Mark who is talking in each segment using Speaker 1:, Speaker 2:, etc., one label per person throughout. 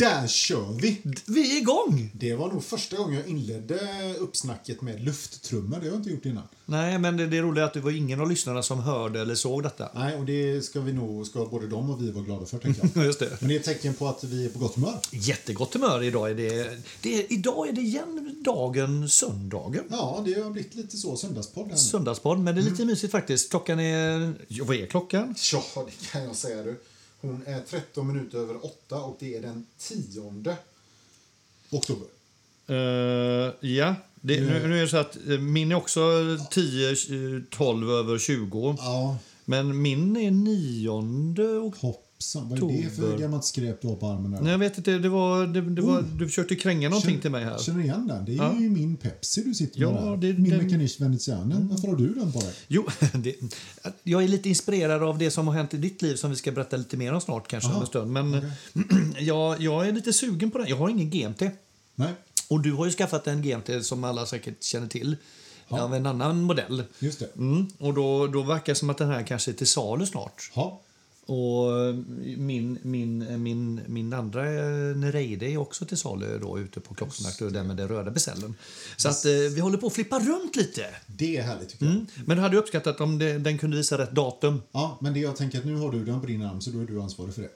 Speaker 1: här kör vi!
Speaker 2: Vi är igång!
Speaker 1: Det var nog första gången jag inledde uppsnacket med lufttrummor. Det har jag inte gjort innan.
Speaker 2: Nej, men det, det roliga är att det var ingen av lyssnarna som hörde eller såg detta.
Speaker 1: Nej, och det ska vi nog, ska både de och vi vara glada för, tänker jag.
Speaker 2: Ja, Just det.
Speaker 1: Men det är ett tecken på att vi är på gott humör.
Speaker 2: Jättegott humör idag. Är det, det är, idag är det igen dagen söndagen.
Speaker 1: Ja, det har blivit lite så söndagspodd här nu.
Speaker 2: Söndagspodd, men det är lite mysigt faktiskt. Klockan är... Ja, vad är klockan?
Speaker 1: Ja, det kan jag säga du. Hon är 13 minuter över 8 och det är den 10 oktober.
Speaker 2: Eh, ja, nu, är det så att eh, min är också 10-12 över 20.
Speaker 1: Ja,
Speaker 2: Men min är nionde och...
Speaker 1: hoppsan. Vad är det för
Speaker 2: Oktober.
Speaker 1: gammalt skräp du har på armen? Där?
Speaker 2: Nej, jag vet inte. Det var, det, det var, du försökte kränga någonting till mig här.
Speaker 1: Känner du igen den? Det är ju min Pepsi du sitter med
Speaker 2: Ja,
Speaker 1: där.
Speaker 2: det-
Speaker 1: min
Speaker 2: den-
Speaker 1: Mekanisch Venezianen. Varför har du den på dig?
Speaker 2: Jo, det, jag är lite inspirerad av det som har hänt i ditt liv som vi ska berätta lite mer om snart kanske om
Speaker 1: Aha,
Speaker 2: en stund. Men jag, jag är lite sugen på den. Jag har ingen GMT.
Speaker 1: Nej,
Speaker 2: Och du har ju skaffat en GMT som alla säkert känner till. Av en annan modell.
Speaker 1: just det.
Speaker 2: Mm, och då, då verkar det som att den här kanske är till salu snart.
Speaker 1: Ja,
Speaker 2: Och eh, min, min, min, min andra eh, Nereide är också till salu då, ute på Klockmarknad och där med den röda besällen. Så att, eh, vi håller på att flippa runt lite.
Speaker 1: det är härligt tycker jag.
Speaker 2: Mm. Men du hade jag uppskattat om det, den kunde visa rätt datum.
Speaker 1: Ja, men det jag tänker att nu har du den på din arm så då är du ansvarig för det.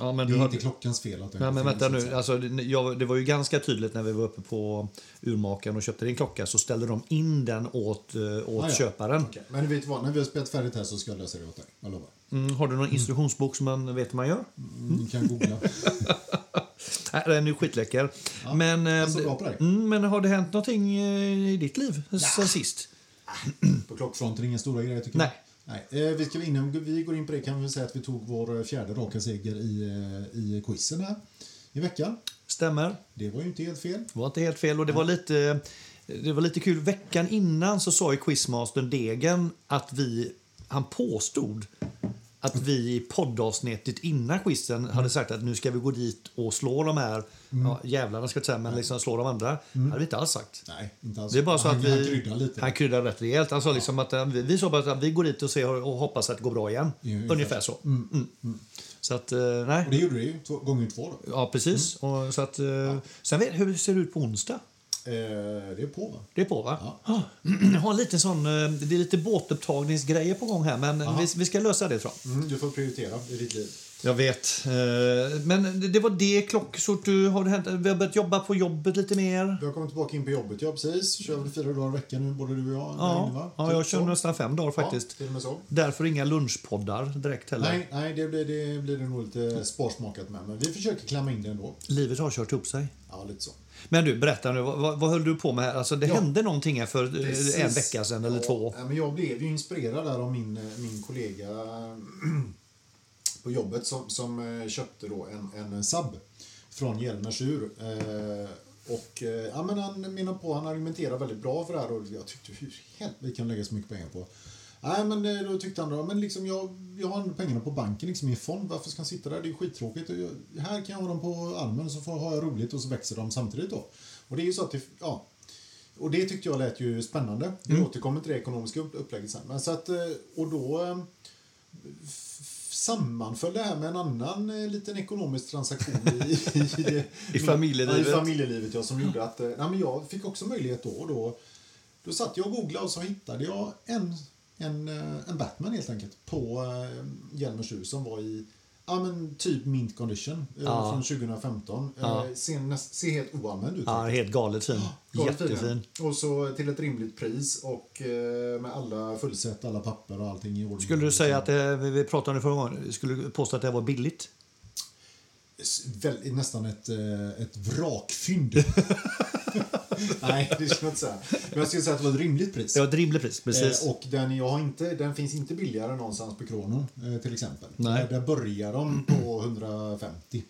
Speaker 2: Ja, men
Speaker 1: Det
Speaker 2: du
Speaker 1: är
Speaker 2: hade...
Speaker 1: inte klockans fel att den
Speaker 2: Nej, men
Speaker 1: inte finns,
Speaker 2: vänta
Speaker 1: så att
Speaker 2: nu.
Speaker 1: säga.
Speaker 2: Alltså, det, jag, det var ju ganska tydligt när vi var uppe på urmakaren och köpte din klocka så ställde de in den åt, eh, åt
Speaker 1: Ah, ja.
Speaker 2: köparen.
Speaker 1: Okej, Men vet du vad, när vi har spelat färdigt här så ska jag lösa det åt dig. Jag lovar.
Speaker 2: Mm, har du någon instruktionsbok som man vet hur man gör?
Speaker 1: Mm, Ni kan googla.
Speaker 2: Nej, den är ju skitläcker. men, eh,
Speaker 1: alltså, bra på dig.
Speaker 2: mm, men har det hänt någonting eh, i ditt liv sen sist?
Speaker 1: på klockfronten, inga stora grejer tycker
Speaker 2: Nej.
Speaker 1: jag. Nej. Eh, vi ska, innan vi går in på det kan vi väl säga att vi tog vår eh, fjärde raka seger i, eh, i quizen här i veckan.
Speaker 2: Stämmer.
Speaker 1: Det var ju inte helt fel.
Speaker 2: Det var inte helt fel. Och det, var lite, det var lite kul. Veckan innan så sa ju quizmastern Degen att vi... Han påstod att vi i poddavsnittet innan quizen
Speaker 1: Mm.
Speaker 2: hade sagt att nu ska vi gå dit och slå de här ja, jävlarna, ska jag inte säga, men liksom slå de andra. Det hade vi inte alls sagt.
Speaker 1: Nej, inte alls.
Speaker 2: Det är bara så
Speaker 1: Mm. han,
Speaker 2: att vi,
Speaker 1: han kryddar lite.
Speaker 2: Han kryddar rätt rejält. Han sa liksom att eh, vi, vi sa bara att vi går dit och ser och hoppas att det går bra igen.
Speaker 1: Ja, ungefär.
Speaker 2: Ungefär så. Mm. Så att, eh,
Speaker 1: Och det Mm.
Speaker 2: nej.
Speaker 1: gjorde det ju, två, gånger två då.
Speaker 2: Ja, precis. Och så att, eh, Sen vet, hur ser det ut på onsdag?
Speaker 1: Eh, det är på va?
Speaker 2: Det är på, va? Ja. Har lite sån, eh, det är lite båtupptagningsgrejer på gång här, men eh, vi, vi ska lösa det tror jag.
Speaker 1: Mm, du får prioritera i ditt liv.
Speaker 2: Jag vet. Eh, Men det- det var det klocksort du har det hänt. Vi har börjat jobba på jobbet lite mer.
Speaker 1: Du har kommit tillbaka in på jobbet, ja precis. Kör väl fyra dagar i veckan nu, både du och jag. där inne,
Speaker 2: Ja,
Speaker 1: va?
Speaker 2: ja
Speaker 1: Typ
Speaker 2: jag kör
Speaker 1: så.
Speaker 2: nästan fem dagar faktiskt.
Speaker 1: Ja, till och med så.
Speaker 2: Därför inga lunchpoddar direkt heller.
Speaker 1: Nej, nej det, blir, det blir det nog lite sparsmakat med, men vi försöker klämma in det ändå.
Speaker 2: Livet har kört ihop sig.
Speaker 1: Ja, lite så.
Speaker 2: Men du, berätta nu. Vad, vad- vad höll du på med här? Alltså, det
Speaker 1: Ja.
Speaker 2: hände någonting här för eh,
Speaker 1: Precis.
Speaker 2: en vecka sedan eller
Speaker 1: ja,
Speaker 2: två.
Speaker 1: ja, Men jag blev ju inspirerad där av min, eh, min kollega på jobbet som, som eh, köpte då en, en sub från Hjelmers ur. Eh, Och eh, ja, men han menar på, han argumenterar väldigt bra för det här och jag tyckte hur i helvete kan vi lägga så mycket pengar på? Nej men eh, då tyckte han då, men liksom jag, jag har ändå pengarna på banken liksom i en fond, varför ska han sitta där? Det är ju skittråkigt. Och jag, här kan jag ha dem på armen så får, har jag roligt och så växer de samtidigt då. Och det är ju så att det, ja, och det tyckte jag lät ju spännande. Vi
Speaker 2: Mm.
Speaker 1: återkommer till det ekonomiska upp- upplägget sen. Men så att, eh, och då eh, f- f- sammanföll det här med en annan eh, liten ekonomisk transaktion i, i, i,
Speaker 2: I familjelivet.
Speaker 1: Ja, i familjelivet ja, som gjorde att eh, nej, men jag fick också möjlighet då. Och då, då satt jag och googlade och så hittade jag en, en, eh, en Batman helt enkelt på eh, Hjelmers hus som var i ja, men typ mint condition eh,
Speaker 2: Ja.
Speaker 1: från 2015.
Speaker 2: Ja.
Speaker 1: Eh, ser, näst, ser helt oanvänd ut.
Speaker 2: Ja, helt galet fin.
Speaker 1: Galet fin,
Speaker 2: Jättefin.
Speaker 1: ja. Och så till ett rimligt pris och eh, med alla fullsätt, alla papper och allting i ordning.
Speaker 2: Skulle du säga att, eh, vi vi pratade om det förra gången, skulle du påstå att det här var billigt?
Speaker 1: S- Väl, nästan ett, eh, ett vrakfynd. Nej, det ska jag inte säga. Men jag skulle säga att det var ett rimligt pris.
Speaker 2: Det var ett rimligt pris, precis.
Speaker 1: Eh, och den, jag har inte, den finns inte billigare någonstans på Kronon eh, till exempel.
Speaker 2: Nej.
Speaker 1: Där, där börjar de på 150.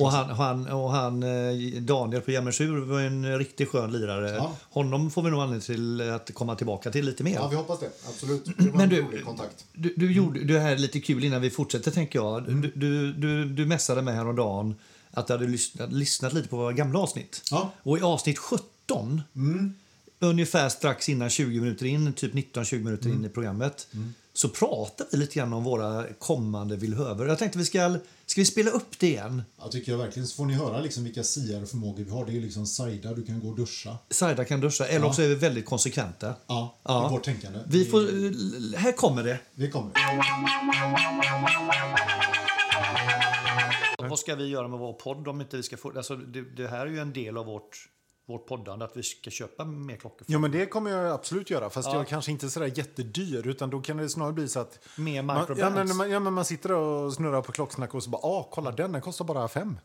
Speaker 2: Och han, han, och han eh, Daniel på Jämmersur var ju en riktigt skön lirare.
Speaker 1: Ja.
Speaker 2: Honom får vi nog anledning till att komma tillbaka till lite mer.
Speaker 1: Ja, vi hoppas det. Absolut. Det var
Speaker 2: Men
Speaker 1: en
Speaker 2: du-
Speaker 1: rolig kontakt.
Speaker 2: Du, du gjorde det här är lite kul innan vi fortsätter tänker jag.
Speaker 1: Mm.
Speaker 2: Du, du, du, du messade mig häromdagen att du hade lyssnat, lyssnat lite på våra gamla avsnitt.
Speaker 1: Ja. Mm.
Speaker 2: Och i avsnitt
Speaker 1: Mm.
Speaker 2: 17, ungefär strax innan 20 minuter in, typ 19-20 minuter in i programmet, så pratar vi lite grann om våra kommande villhöver. Jag tänkte vi ska, ska vi spela upp det igen?
Speaker 1: Jag tycker jag verkligen så får ni höra liksom vilka siare och förmågor vi har. Det är ju liksom Saida, du kan gå och duscha.
Speaker 2: Saida kan duscha, eller också är vi väldigt konsekventa.
Speaker 1: Ja,
Speaker 2: Ja.
Speaker 1: i vårt tänkande.
Speaker 2: Vi får, här kommer det.
Speaker 1: Vi kommer.
Speaker 2: Vad ska vi göra med vår podd om inte vi ska få... Alltså, det, det här är ju en del av vårt, vårt poddande, att vi ska köpa mer klockor.
Speaker 3: Ja, men det kommer jag absolut göra. Fast jag kanske inte är sådär jättedyr. Utan då kan det snarare bli så att...
Speaker 2: Mer
Speaker 3: Man, ja,
Speaker 2: microbands.
Speaker 3: men, man, ja, men man sitter och snurrar på klocksnack och så bara, ah, kolla den, den kostar bara fem.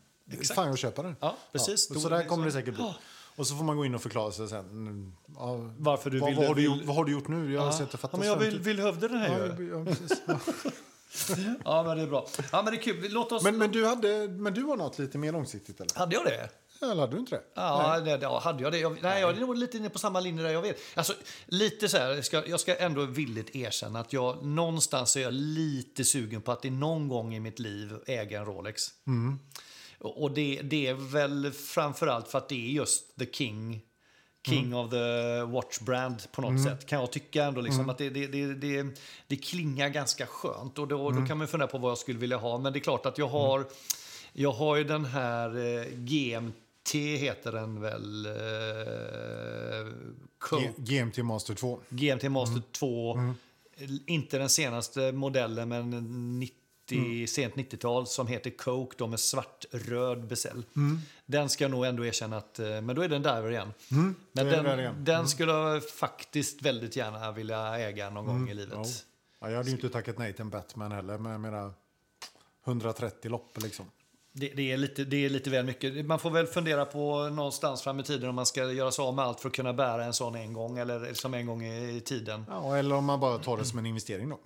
Speaker 3: Fan, jag köper den.
Speaker 2: Ja, precis.
Speaker 3: och så
Speaker 2: Då-
Speaker 3: där kommer det säkert bli.
Speaker 2: Ja.
Speaker 3: Och så får man gå in och förklara sig sen. Mm, Ja,
Speaker 2: Varför du
Speaker 3: vad,
Speaker 2: ville-
Speaker 3: vad, har du
Speaker 2: vill-
Speaker 3: gjort, vad har du gjort nu? Jag har sett det
Speaker 2: ja, men jag
Speaker 3: sen.
Speaker 2: vill, vill hövde den här
Speaker 3: Ja,
Speaker 2: gör.
Speaker 3: jag- typ. ja, precis.
Speaker 2: Ja, men det är bra. Ja, men det är kul. Vi- Låt oss...
Speaker 3: men, men, du hade, men du har något lite mer långsiktigt, eller?
Speaker 2: Hade jag det?
Speaker 3: Eller hade du inte det?
Speaker 2: Ja, det, det, ja, hade jag det? Jag, nej, jag är nog lite inne på samma linje där jag vet. Alltså, lite så här, jag ska, jag ska ändå villigt erkänna att jag någonstans är jag lite sugen på att i någon gång i mitt liv äga en Rolex.
Speaker 3: Mm.
Speaker 2: Och och det, det är väl framförallt för att det är just the king. King of the watch brand på något sätt kan jag tycka ändå liksom att det, det, det, det, det klingar ganska skönt och då, då kan man fundera på vad jag skulle vilja ha men det är klart att jag har jag har ju den här eh, GMT heter den väl eh, Co-
Speaker 3: G- GMT Master 2.
Speaker 2: GMT Master
Speaker 3: Mm.
Speaker 2: 2. Inte den senaste modellen, men 90,
Speaker 3: Mm.
Speaker 2: sent 90-tal som heter Coke då med svart-röd bezel.
Speaker 3: Mm.
Speaker 2: Den ska jag nog ändå erkänna att... eh, Men då är det en diver igen. men
Speaker 3: Mm. då är det
Speaker 2: den,
Speaker 3: där igen. Mm.
Speaker 2: den skulle jag faktiskt väldigt gärna vilja äga någon gång i livet.
Speaker 3: Mm. Ja, jag hade ju inte tackat nej till en Batman heller, men jag menar 130 lopp liksom.
Speaker 2: Det, det, är lite, det är lite väl mycket. Man får väl fundera på någonstans fram i tiden om man ska göra sig av med allt för att kunna bära en sån en gång eller som en gång i i tiden.
Speaker 3: Ja, eller om man bara tar det som en investering då.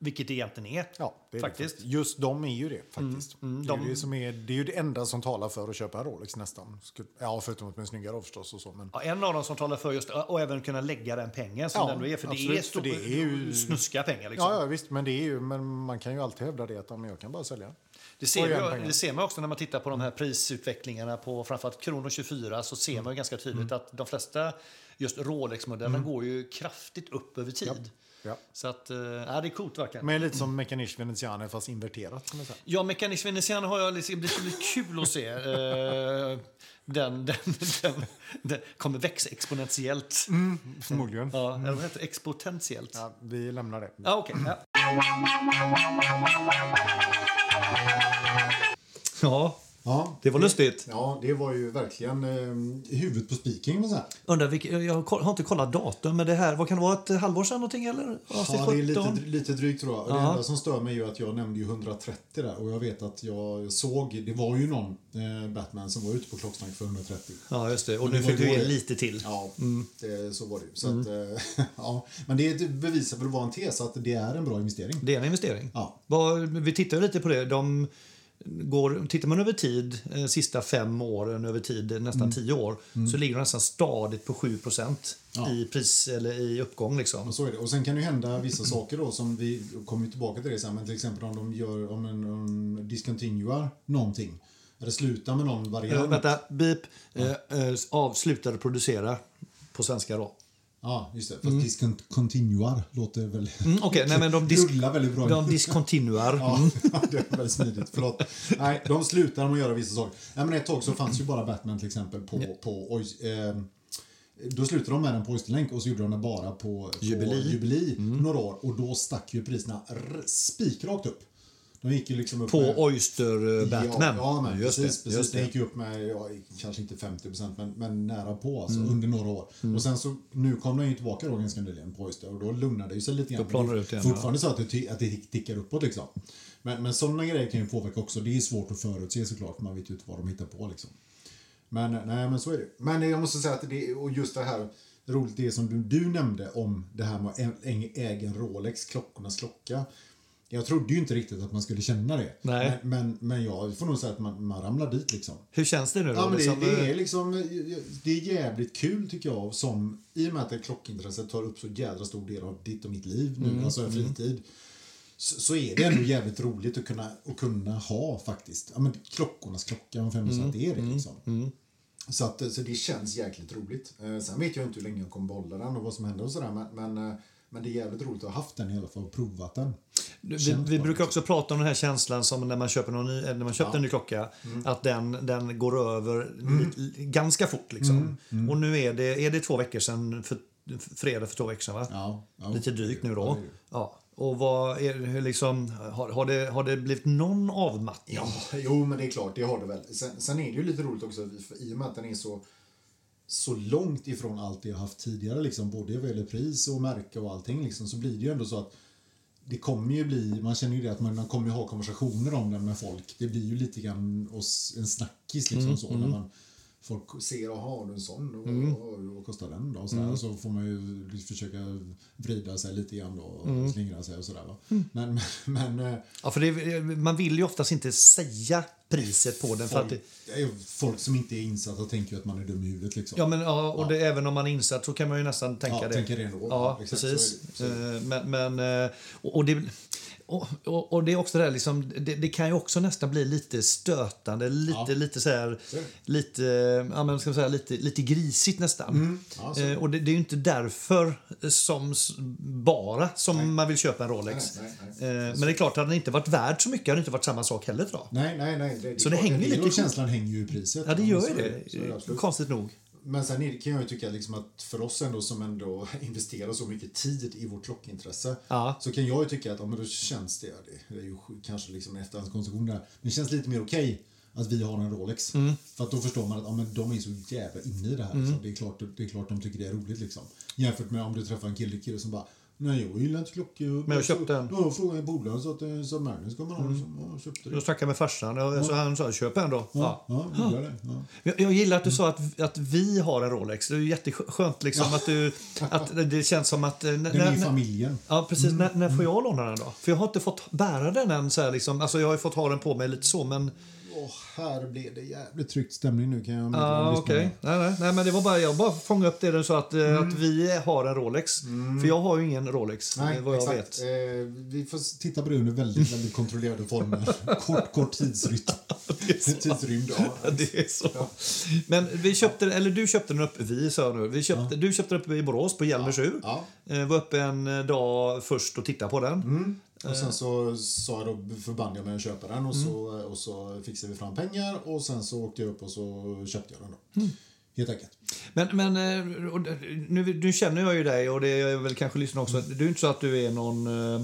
Speaker 2: Vilket det egentligen är.
Speaker 3: Ja, det är
Speaker 2: Faktiskt.
Speaker 3: Det. Just de är ju det faktiskt. det, är ju
Speaker 2: de-
Speaker 3: det, som är, det är ju det enda som talar för att köpa en Rolex nästan. Skulle- Ja, förutom att de är snyggare då förstås och så. Men
Speaker 2: Ja, en av dem som talar för just och även kunna lägga den pengen som
Speaker 3: Ja,
Speaker 2: det ändå är. För det är,
Speaker 3: absolut,
Speaker 2: stor,
Speaker 3: för det är ju-
Speaker 2: snuska pengar. Liksom.
Speaker 3: Ja, ja, visst. Men, det är ju, men man kan ju alltid hävda det att ja, men jag kan bara sälja.
Speaker 2: Det, ser
Speaker 3: Och igen
Speaker 2: ju,
Speaker 3: pengar.
Speaker 2: det ser man också när man tittar på de här prisutvecklingarna på framförallt Kronor 24 så ser man ju ganska
Speaker 3: Mm.
Speaker 2: tydligt att de flesta just Rolex-modellerna går ju kraftigt upp över tid.
Speaker 3: Ja.
Speaker 2: Så att, eh, ja, det är coolt verkligen.
Speaker 3: Men lite som Mekanisch Veneziane fast inverterat. Som jag säger.
Speaker 2: Ja, Mekanisch Venezian har jag liksom, det ska bli kul att se. Eh, den, den, den, den kommer växa exponentiellt.
Speaker 3: Mm. Förmodligen. Ja.
Speaker 2: Ja, eller vad heter det? Exponentiellt. Ja,
Speaker 3: vi lämnar det.
Speaker 2: okej. Ja. Ja,
Speaker 1: Ja,
Speaker 2: det var lustigt.
Speaker 1: ja, det var ju verkligen eh, huvudet på spiken. Men så här.
Speaker 2: Undrar vilken, jag har har inte kollat datum, men det här, vad kan det vara, ett halvår sedan någonting eller? Avsnitt
Speaker 1: Ja, det är lite,
Speaker 2: 17?
Speaker 1: lite drygt tror jag. Och Det
Speaker 2: Ja.
Speaker 1: enda som stör mig är ju att jag nämnde ju 130 där och jag vet att jag såg, det var ju någon eh, Batman som var ute på klocksnack för 130.
Speaker 2: Ja, just det. Och nu
Speaker 1: det
Speaker 2: fick
Speaker 1: var
Speaker 2: du
Speaker 1: ju-
Speaker 2: ge lite till.
Speaker 1: Ja,
Speaker 2: Mm.
Speaker 1: det, så var det ju. Så att, eh, ja. Men det bevisar väl vara en tes att det är en bra investering.
Speaker 2: Det är en investering.
Speaker 1: Ja.
Speaker 2: Vad- Vi tittar ju lite på det. De går, tittar man över tid, eh, sista fem åren över tid, eh,
Speaker 1: Mm.
Speaker 2: nästan tio år, så ligger de nästan stadigt på 7
Speaker 1: Ja.
Speaker 2: i pris eller i uppgång. Liksom.
Speaker 1: Och så är det. Och sen kan det ju hända vissa saker då som vi kommer ju tillbaka till det sen, men till exempel om de gör, om en, om discontinuar någonting. Eller slutar med någon
Speaker 2: Eh,
Speaker 1: variant.
Speaker 2: vänta, beep. Eh, eh, avslutade producera på svenska då.
Speaker 1: Ja, just det. Fast discontinuar låter väl...
Speaker 2: Mm, Okej, nej men de, disk,
Speaker 1: Rullar väldigt bra.
Speaker 2: de discontinuar.
Speaker 1: Mm. Ja, det är väldigt smidigt. Förlåt. Nej, de slutar med att göra vissa saker. Nej, men ett tag så fanns ju bara Batman till exempel på... på oj, eh, då slutade de med den på Oysterlänk och så gjorde de den bara på, på
Speaker 2: Jubilee. Mm.
Speaker 1: Jubilee några år och då stack ju priserna r- spikrakt upp. De gick ju liksom upp
Speaker 2: På
Speaker 1: med-
Speaker 2: Oyster eh, Batman.
Speaker 1: Ja, ja men
Speaker 2: Just
Speaker 1: precis.
Speaker 2: det,
Speaker 1: precis.
Speaker 2: just
Speaker 1: det.
Speaker 2: det.
Speaker 1: gick ju upp med, ja, kanske inte 50 men, men nära på alltså,
Speaker 2: Mm.
Speaker 1: under några år. Och sen så, nu kom den ju tillbaka då ganska nyligen på Oyster och då lugnade det ju sig lite grann.
Speaker 2: Då planar
Speaker 1: Men
Speaker 2: det
Speaker 1: är
Speaker 2: ut igen,
Speaker 1: Fortfarande så att det, ty- att det tick- tickar uppåt liksom. Men, men sådana grejer kan ju påverka också. Det är svårt att förutse såklart, man vet ju inte vad de hittar på liksom. Men nej, men så är det. Men jag måste säga att det, och just det här roligt det som du, du nämnde om det här med en- en- egen Rolex, klockornas klocka. Jag trodde ju inte riktigt att man skulle känna det.
Speaker 2: Nej.
Speaker 1: Men, men, men jag får nog säga att man, man ramlar dit liksom.
Speaker 2: Hur känns det nu då?
Speaker 1: Ja, men
Speaker 2: Liksom,
Speaker 1: det, det
Speaker 2: eh,
Speaker 1: är liksom det är jävligt kul tycker jag som i och med att det klockintresset tar upp så jädra stor del av ditt och mitt liv nu,
Speaker 2: Mm,
Speaker 1: alltså en fritid. Så, så är det ändå jävligt roligt att kunna, att kunna ha faktiskt. Ja, men klockornas klocka, om
Speaker 2: Mm,
Speaker 1: fem att det är det liksom. Så, att, så det känns jäkligt roligt. Eh, sen vet jag inte hur länge jag kommer behålla den och vad som händer och sådär men, men eh, Men det är jävligt roligt att ha haft den i alla fall och provat den.
Speaker 2: Vi,
Speaker 1: Känt
Speaker 2: vi
Speaker 1: bara,
Speaker 2: brukar också prata om den här känslan som när man köper, någon ny, eller när man köper en ny klocka.
Speaker 1: Mm.
Speaker 2: Att den, den går över lite- ganska fort. Liksom.
Speaker 1: Mm.
Speaker 2: Och nu är det, är det två veckor sedan, för, för- fredag för två veckor sedan va?
Speaker 1: Ja, ja.
Speaker 2: Lite drygt nu
Speaker 1: Ja,
Speaker 2: då.
Speaker 1: det är det.
Speaker 2: Ja. Och vad är, hur liksom, har, har, det, har det blivit någon avmattning?
Speaker 1: Ja, jo, men det är klart, det har det väl. Sen, sen är det ju lite roligt också att vi- för i och med att den är så, så långt ifrån allt det jag haft tidigare, liksom, både vad gäller pris och märke och allting, liksom, så blir det ju ändå så att det kommer ju bli, man känner ju det att man, man kommer ju ha konversationer om den med folk. Det blir ju lite grann oss, en snackis liksom så. När man, folk ser, jaha, har du en sån? Och, och, vad kostar den då? Och sådär. Så får man ju försöka vrida sig lite grann då och slingra sig och sådär. Va? Men, men, men eh,
Speaker 2: Ja, för det, man vill ju oftast inte säga priset på den. För att det,
Speaker 1: Folk, det är folk som inte är insatta tänker ju att man är dum i huvudet. Liksom.
Speaker 2: ja, men, ja, och det, även om man är insatt så kan man ju nästan tänka
Speaker 1: Ja,
Speaker 2: det.
Speaker 1: tänker det ändå.
Speaker 2: Ja,
Speaker 1: Ja, exakt,
Speaker 2: precis.
Speaker 1: så är det. Så är
Speaker 2: Eh, Men, men, eh, och, och, det, och, och, och det är också det här, liksom, det, det kan ju också nästan bli lite stötande, lite,
Speaker 1: Ja.
Speaker 2: lite så här,
Speaker 1: Så är det.
Speaker 2: lite, ja, men ska man säga, lite, lite grisigt nästan.
Speaker 1: Mm. Ja, så är det.
Speaker 2: Eh, och det, det är ju inte därför som s- bara som man vill köpa en Rolex.
Speaker 1: Nej, nej,
Speaker 2: Eh, Men det är klart, hade den inte varit värd så mycket hade det inte varit samma sak heller tror jag.
Speaker 1: Nej, nej, nej. Det,
Speaker 2: Så det hänger
Speaker 1: är
Speaker 2: lite
Speaker 1: klart,
Speaker 2: ihop.
Speaker 1: Känslan hänger ju i priset.
Speaker 2: Ja, det
Speaker 1: men
Speaker 2: gör
Speaker 1: så
Speaker 2: ju
Speaker 1: är
Speaker 2: det.
Speaker 1: Så är absolut.
Speaker 2: Konstigt nog.
Speaker 1: Men sen är- kan jag ju tycka liksom att för oss ändå som ändå investerar så mycket tid i vårt klockintresse
Speaker 2: Ja.
Speaker 1: så kan jag ju tycka att ja, men då känns det, det är ju sj- kanske liksom en efterhandskonstruktion där, men det känns lite mer okej att vi har en Rolex. För att då förstår man att ja, men de är så jävla inne i det här. Liksom. Det, är klart, det är klart de tycker det är roligt. Liksom. Jämfört med om du träffar en kille, kille som bara Nej, jag gillar inte klockor. Men
Speaker 2: köpte den."
Speaker 1: Ja, jag frågade polaren så att eh, sa Magnus ska man ha den. Så, ja, jag köpte
Speaker 2: Jag
Speaker 1: det.
Speaker 2: snackade med farsan och
Speaker 1: Mm.
Speaker 2: så han sa köp en då. Ja.
Speaker 1: Ja, ja, jag gillar det. Ja.
Speaker 2: Jag, jag gillar att du sa att, att vi har en Rolex. Det är ju jätteskönt liksom att, du, att det känns som att... eh, när-
Speaker 1: Den är Mm. i
Speaker 2: när-
Speaker 1: familjen.
Speaker 2: Ja, precis. När, när får jag låna den då? För jag har inte fått bära den än. Så här, liksom. alltså, jag har ju fått ha den på mig lite så, men...
Speaker 1: Åh, här blev det jävligt tryckt stämning nu kan jag meddela
Speaker 2: Ja,
Speaker 1: lyssnarna.
Speaker 2: Ah, okej. Nej, nej, nej, men det var bara, jag bara fångade upp det du sa, att, eh,
Speaker 1: Mm.
Speaker 2: att vi har en Rolex. För jag har ju ingen Rolex, eh, vad jag vet.
Speaker 1: Eh, vi får s- titta på det under väldigt, väldigt kontrollerade former. kort, kort tidsrytm. Tidsrymd, ja.
Speaker 2: Det är så. Men vi köpte, eller du köpte den upp, vi sa jag nu. Vi köpte, Du köpte den upp i Borås på Hjalmers ur.
Speaker 1: ja.
Speaker 2: Eh, Var uppe en dag först och tittade på den.
Speaker 1: Mm. Och sen så sa jag då, förband jag mig att köpa den och så,
Speaker 2: Mm.
Speaker 1: och så fixade vi fram pengar och sen så åkte jag upp och så köpte jag den då.
Speaker 2: Mm.
Speaker 1: Helt enkelt.
Speaker 2: Men, men eh, och det- nu, nu känner jag ju dig och det är väl kanske lyssnarna också. Det är ju inte så att du är någon... eh,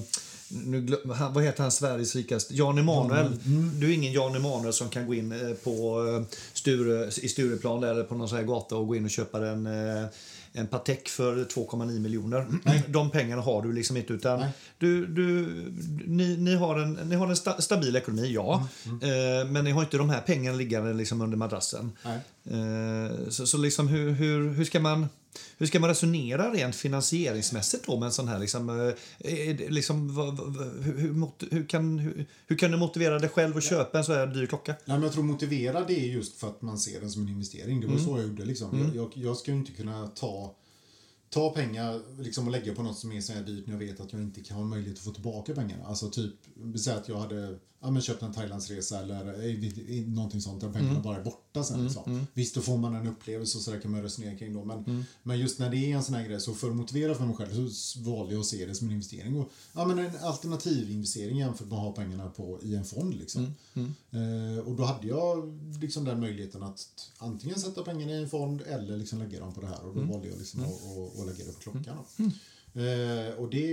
Speaker 2: Nu, glö- han, vad heter han, Sveriges rikaste? Jan Emanuel. Du är ingen Jan Emanuel som kan gå in eh, på eh, Sture, i Stureplan där, eller på någon sån här gata och gå in och köpa en, eh, en Patek för 2,9 miljoner. De pengarna har du liksom inte. Utan
Speaker 1: Nej.
Speaker 2: du, du, ni, ni har en, ni har en sta, stabil ekonomi, ja. Eh, Men ni har inte de här pengarna liggande liksom under madrassen.
Speaker 1: Nej.
Speaker 2: Eh, Så, så liksom hur, hur, hur, ska man, hur ska man resonera rent finansieringsmässigt då med en sån här... Liksom, eh, är det liksom, vad, vad, vad- hur, hur, mot- hur, kan, hur, hur kan du motivera dig själv att köpa en så här dyr klocka?
Speaker 1: Nej, men jag tror motivera det är just för att man ser den som en investering. Det var
Speaker 2: Mm.
Speaker 1: så jag gjorde. Liksom. Jag, jag, jag ska ju inte kunna ta, ta pengar liksom, och lägga på något som är så här dyrt när jag vet att jag inte kan ha möjlighet att få tillbaka pengarna. Alltså typ, säg att jag hade ja, men köpt en Thailandsresa eller eh, eh, någonting sånt där pengarna bara är borta sen. Liksom. Visst, då får man en upplevelse och så där kan man resonera kring då. Men, men just när det är en sån här grej så för att motivera för mig själv så s- valde jag att se det som en investering. Och, ja, men en alternativ investering jämfört med att ha pengarna på, i en fond. Liksom. Eh, och då hade jag liksom den möjligheten att t- antingen sätta pengarna i en fond eller liksom lägga dem på det här. Och då
Speaker 2: Mm.
Speaker 1: valde jag liksom att, att, att lägga det på klockan. Då. Eh, och det,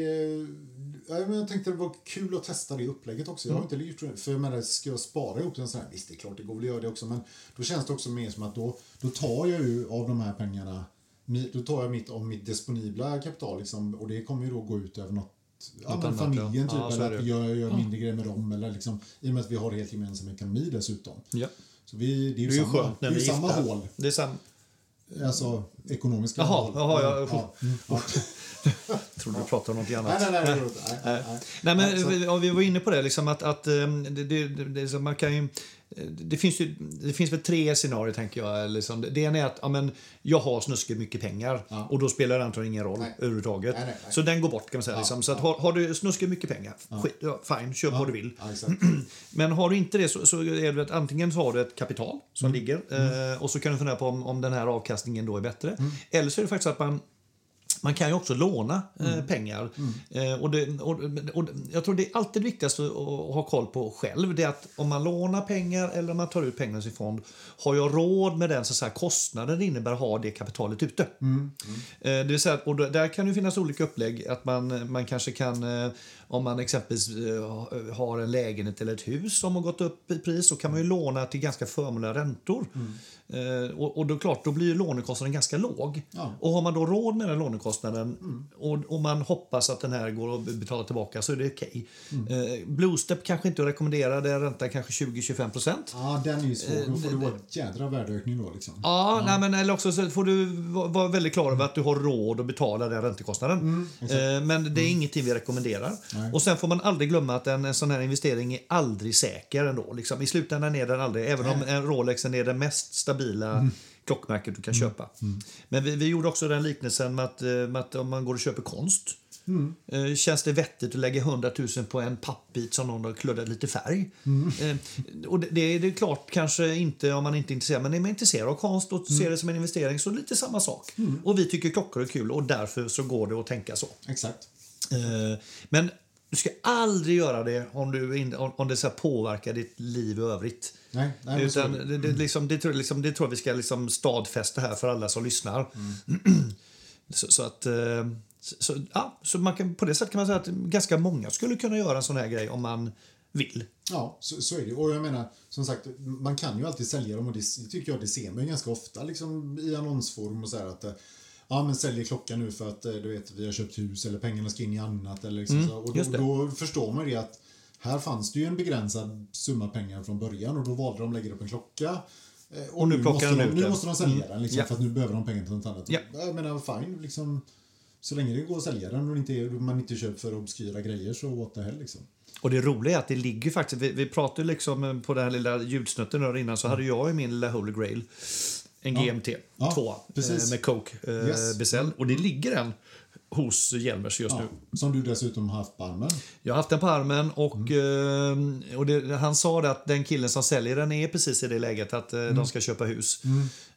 Speaker 1: ja, men jag tänkte det var kul att testa det upplägget också. Jag har
Speaker 2: Mm.
Speaker 1: inte gjort det, för jag menar, ska jag spara ihop en sån här, visst det är klart det går väl att göra det också, men då känns det också mer som att då, då tar jag ju av de här pengarna, mi- då tar jag mitt, av mitt disponibla kapital liksom, och det kommer ju då gå ut över något, ja, men
Speaker 2: annat, ja.
Speaker 1: familjen typ,
Speaker 2: Ja, så är
Speaker 1: eller
Speaker 2: det
Speaker 1: att
Speaker 2: ju. Mm.
Speaker 1: vi gör, gör mindre grejer med dem, eller liksom, i och med att vi har helt gemensam ekonomi dessutom.
Speaker 2: Ja.
Speaker 1: Så vi, det är ju,
Speaker 2: Det är ju
Speaker 1: samma,
Speaker 2: skönt
Speaker 1: det
Speaker 2: när
Speaker 1: är ju
Speaker 2: vi är
Speaker 1: samma
Speaker 2: gifta.
Speaker 1: hål,
Speaker 2: Det är sam-
Speaker 1: alltså ekonomiska
Speaker 2: Jaha,
Speaker 1: hål.
Speaker 2: jaha, jag-
Speaker 1: ja, mm, ja.
Speaker 2: jag trodde du pratade om något annat.
Speaker 1: Nej, nej, nej, det går inte. nej, nej, nej.
Speaker 2: Nej, men, eh,
Speaker 1: Ja, så-
Speaker 2: vi- ja, vi var inne på det, liksom att, att ehm, det, det, det, det, är så man kan ju, eh, det, finns ju, det finns väl tre scenarier, tänker jag. Liksom. Det- Det ena är att ja, men, jag har snuskigt mycket pengar
Speaker 1: Ja.
Speaker 2: och då spelar det antagligen ingen roll
Speaker 1: Nej.
Speaker 2: överhuvudtaget.
Speaker 1: Nej, nej, nej.
Speaker 2: Så den går bort, kan man säga. Liksom. Så att, har, har du snuskigt mycket pengar, skit, ja, fine, köp vad du vill.
Speaker 1: Ja, exakt.
Speaker 2: Men har du inte det så, så är det att antingen så har du ett kapital som
Speaker 1: Mm. Mm.
Speaker 2: ligger eh, och så kan du fundera på om, om den här avkastningen då är bättre. Eller så är det faktiskt att man Man kan ju också låna eh, pengar. Eh, och det, och, och jag tror det är alltid viktigast att, att ha koll på själv det är att om man lånar pengar eller om man tar ut pengar ur sin fond, har jag råd med den så så här, kostnaden det innebär att ha det kapitalet ute? Eh, det vill säga, att- och då- där kan det finnas olika upplägg. Att man, man kanske kan, eh, om man exempelvis eh, ha- har en lägenhet eller ett hus som har gått upp i pris, så kan man ju låna till ganska förmånliga räntor. Eh, Och, och då, klart, då blir ju lånekostnaden ganska låg.
Speaker 1: Ja.
Speaker 2: Och har man då råd med den lånekostnaden och, och man hoppas att den här går att betala tillbaka så är det okej. Eh, Bluestep kanske inte rekommenderar, det räntar kanske 20-25 procent.
Speaker 1: Ja, den är ju svår. Då får
Speaker 2: Eh,
Speaker 1: du vara en jädra värdeökning då liksom.
Speaker 2: Ja, Nej, men, eller också så får du va- vara väldigt klar över att du har råd att betala den räntekostnaden. eh, men det är ingenting vi rekommenderar.
Speaker 1: Nej.
Speaker 2: Och sen får man aldrig glömma att en, en sån här investering är aldrig säker ändå. Liksom, I slutändan är den aldrig, även om en Rolexen är det mest stabila klockmärket du kan köpa. Men vi, vi gjorde också den liknelsen med att, eh, med att om man går och köper konst Eh, Känns det vettigt att lägga 100 000 på en pappbit som någon har kluddat lite färg? Eh, Och det, det är det är klart, kanske inte om man inte är intresserad, men är man intresserad av konst och ser det som en investering så är det lite samma sak. Och vi tycker klockor är kul och därför så går det att tänka så.
Speaker 1: Exakt.
Speaker 2: Eh, Men du ska aldrig göra det om, du, in- om om det så här påverkar ditt liv i övrigt.
Speaker 1: Nej, nej men så mm. är
Speaker 2: Utan
Speaker 1: det.
Speaker 2: det, det, liksom, det, tror, jag liksom, det tror jag vi ska liksom stadfästa här för alla som lyssnar.
Speaker 1: Mm.
Speaker 2: så, så att... eh, Så, så, ja, så man kan, på det sättet kan man säga att ganska många skulle kunna göra en sån här grej om man vill.
Speaker 1: Ja, så, så är det ju. Och jag menar, som sagt, man kan ju alltid sälja dem och det tycker jag det ser man ju ganska ofta liksom, i annonsform och så här att eh, Ja men säljer klockan nu för att eh, du vet vi har köpt hus eller pengarna ska in i annat eller liksom, så. Och då,
Speaker 2: Mm, just det.
Speaker 1: då förstår man ju det att här fanns det ju en begränsad summa pengar från början och då valde de att lägga upp en klocka. eh, Och,
Speaker 2: nu plockar
Speaker 1: måste
Speaker 2: de
Speaker 1: de,
Speaker 2: ut
Speaker 1: nu
Speaker 2: den. Mm,
Speaker 1: måste de sälja den liksom,
Speaker 2: Ja.
Speaker 1: för att nu behöver de pengar till något annat.
Speaker 2: Ja.
Speaker 1: Jag menar fine liksom. Så länge det går att sälja den och det inte är, man inte köper för obskyra grejer så what the hell liksom.
Speaker 2: Och det roliga är att det ligger ju faktiskt, vi, vi pratade ju liksom eh, på den här lilla ljudsnutten där innan så hade jag ju min lilla Holy Grail, en GMT 2
Speaker 1: Mm. Ja, precis.
Speaker 2: med Coke eh,
Speaker 1: Yes.
Speaker 2: bezel och det ligger en hos Hjelmers just nu.
Speaker 1: Ja, som du dessutom har haft på armen.
Speaker 2: Jag har haft den på armen och, eh, och det, han sa det att den killen som säljer den är precis i det läget att eh, de ska köpa hus.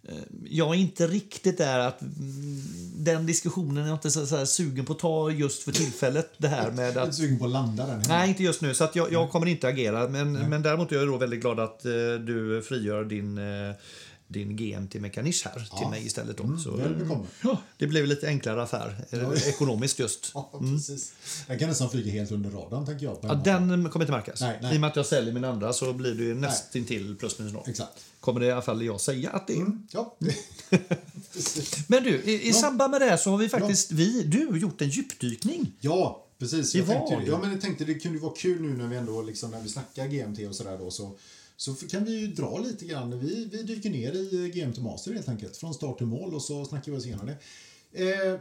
Speaker 2: Eh, Jag är inte riktigt där att mm, den diskussionen är jag inte så, så här sugen på att ta just för tillfället. Det här med
Speaker 1: Jag är
Speaker 2: att
Speaker 1: inte sugen på att landa den.
Speaker 2: Nej, inte just nu. Så att jag, jag kommer inte agera. Men, men däremot är jag då väldigt glad att eh, du frigör din, eh, din GMT-mekanisch här till mig istället. Då. Så,
Speaker 1: väl bekomme.
Speaker 2: ja, det blev lite enklare affär, eh, ekonomiskt just.
Speaker 1: Ja, precis. Den kan nästan flyga helt under radarn, tänker jag. På
Speaker 2: Ja,
Speaker 1: hemmaplan.
Speaker 2: den kommer inte märkas.
Speaker 1: Nej, nej.
Speaker 2: I och med att jag säljer min andra så blir det ju nästintill plus minus noll.
Speaker 1: Exakt. Mm.
Speaker 2: Kommer det i alla fall jag säga att det är.
Speaker 1: Ja. Precis.
Speaker 2: Men du, i, i samband med det här så har vi faktiskt, vi, du, gjort en djupdykning.
Speaker 1: ja, precis. Jag
Speaker 2: Det var
Speaker 1: tänkte, ju det.
Speaker 2: det.
Speaker 1: ja, men jag tänkte det kunde ju vara kul nu när vi ändå liksom, när vi snackar GMT och sådär då. Så, så kan vi ju dra lite grann. Vi, vi dyker ner i eh, GMT Master helt enkelt. Från start till mål och så snackar vi oss igenom det. Eh,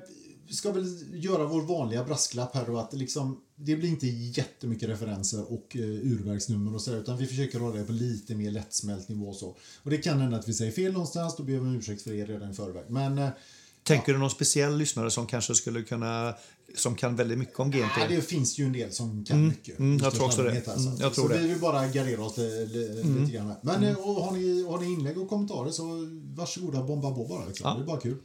Speaker 1: vi ska väl göra vår vanliga brasklapp här då att liksom, det blir inte jättemycket referenser och eh, urverksnummer och sådär utan vi försöker hålla det på lite mer lättsmält nivå och så. Och det kan hända att vi säger fel någonstans, då ber vi om ursäkt för det redan i förväg. Men eh,
Speaker 2: Tänker du någon speciell lyssnare som kanske skulle kunna, som kan väldigt mycket om GMT?
Speaker 1: Ja, det finns ju en del som kan mycket.
Speaker 2: mm, jag
Speaker 1: Just
Speaker 2: tror också
Speaker 1: allmänhet
Speaker 2: det.
Speaker 1: här, så
Speaker 2: Mm,
Speaker 1: att-
Speaker 2: jag tror
Speaker 1: så
Speaker 2: det. Mm.
Speaker 1: vi vill bara gardera oss li- li- lite grann. här. Men eh, och har, ni, har ni inlägg och kommentarer så varsågoda bomba på bara. Liksom. Det är bara kul.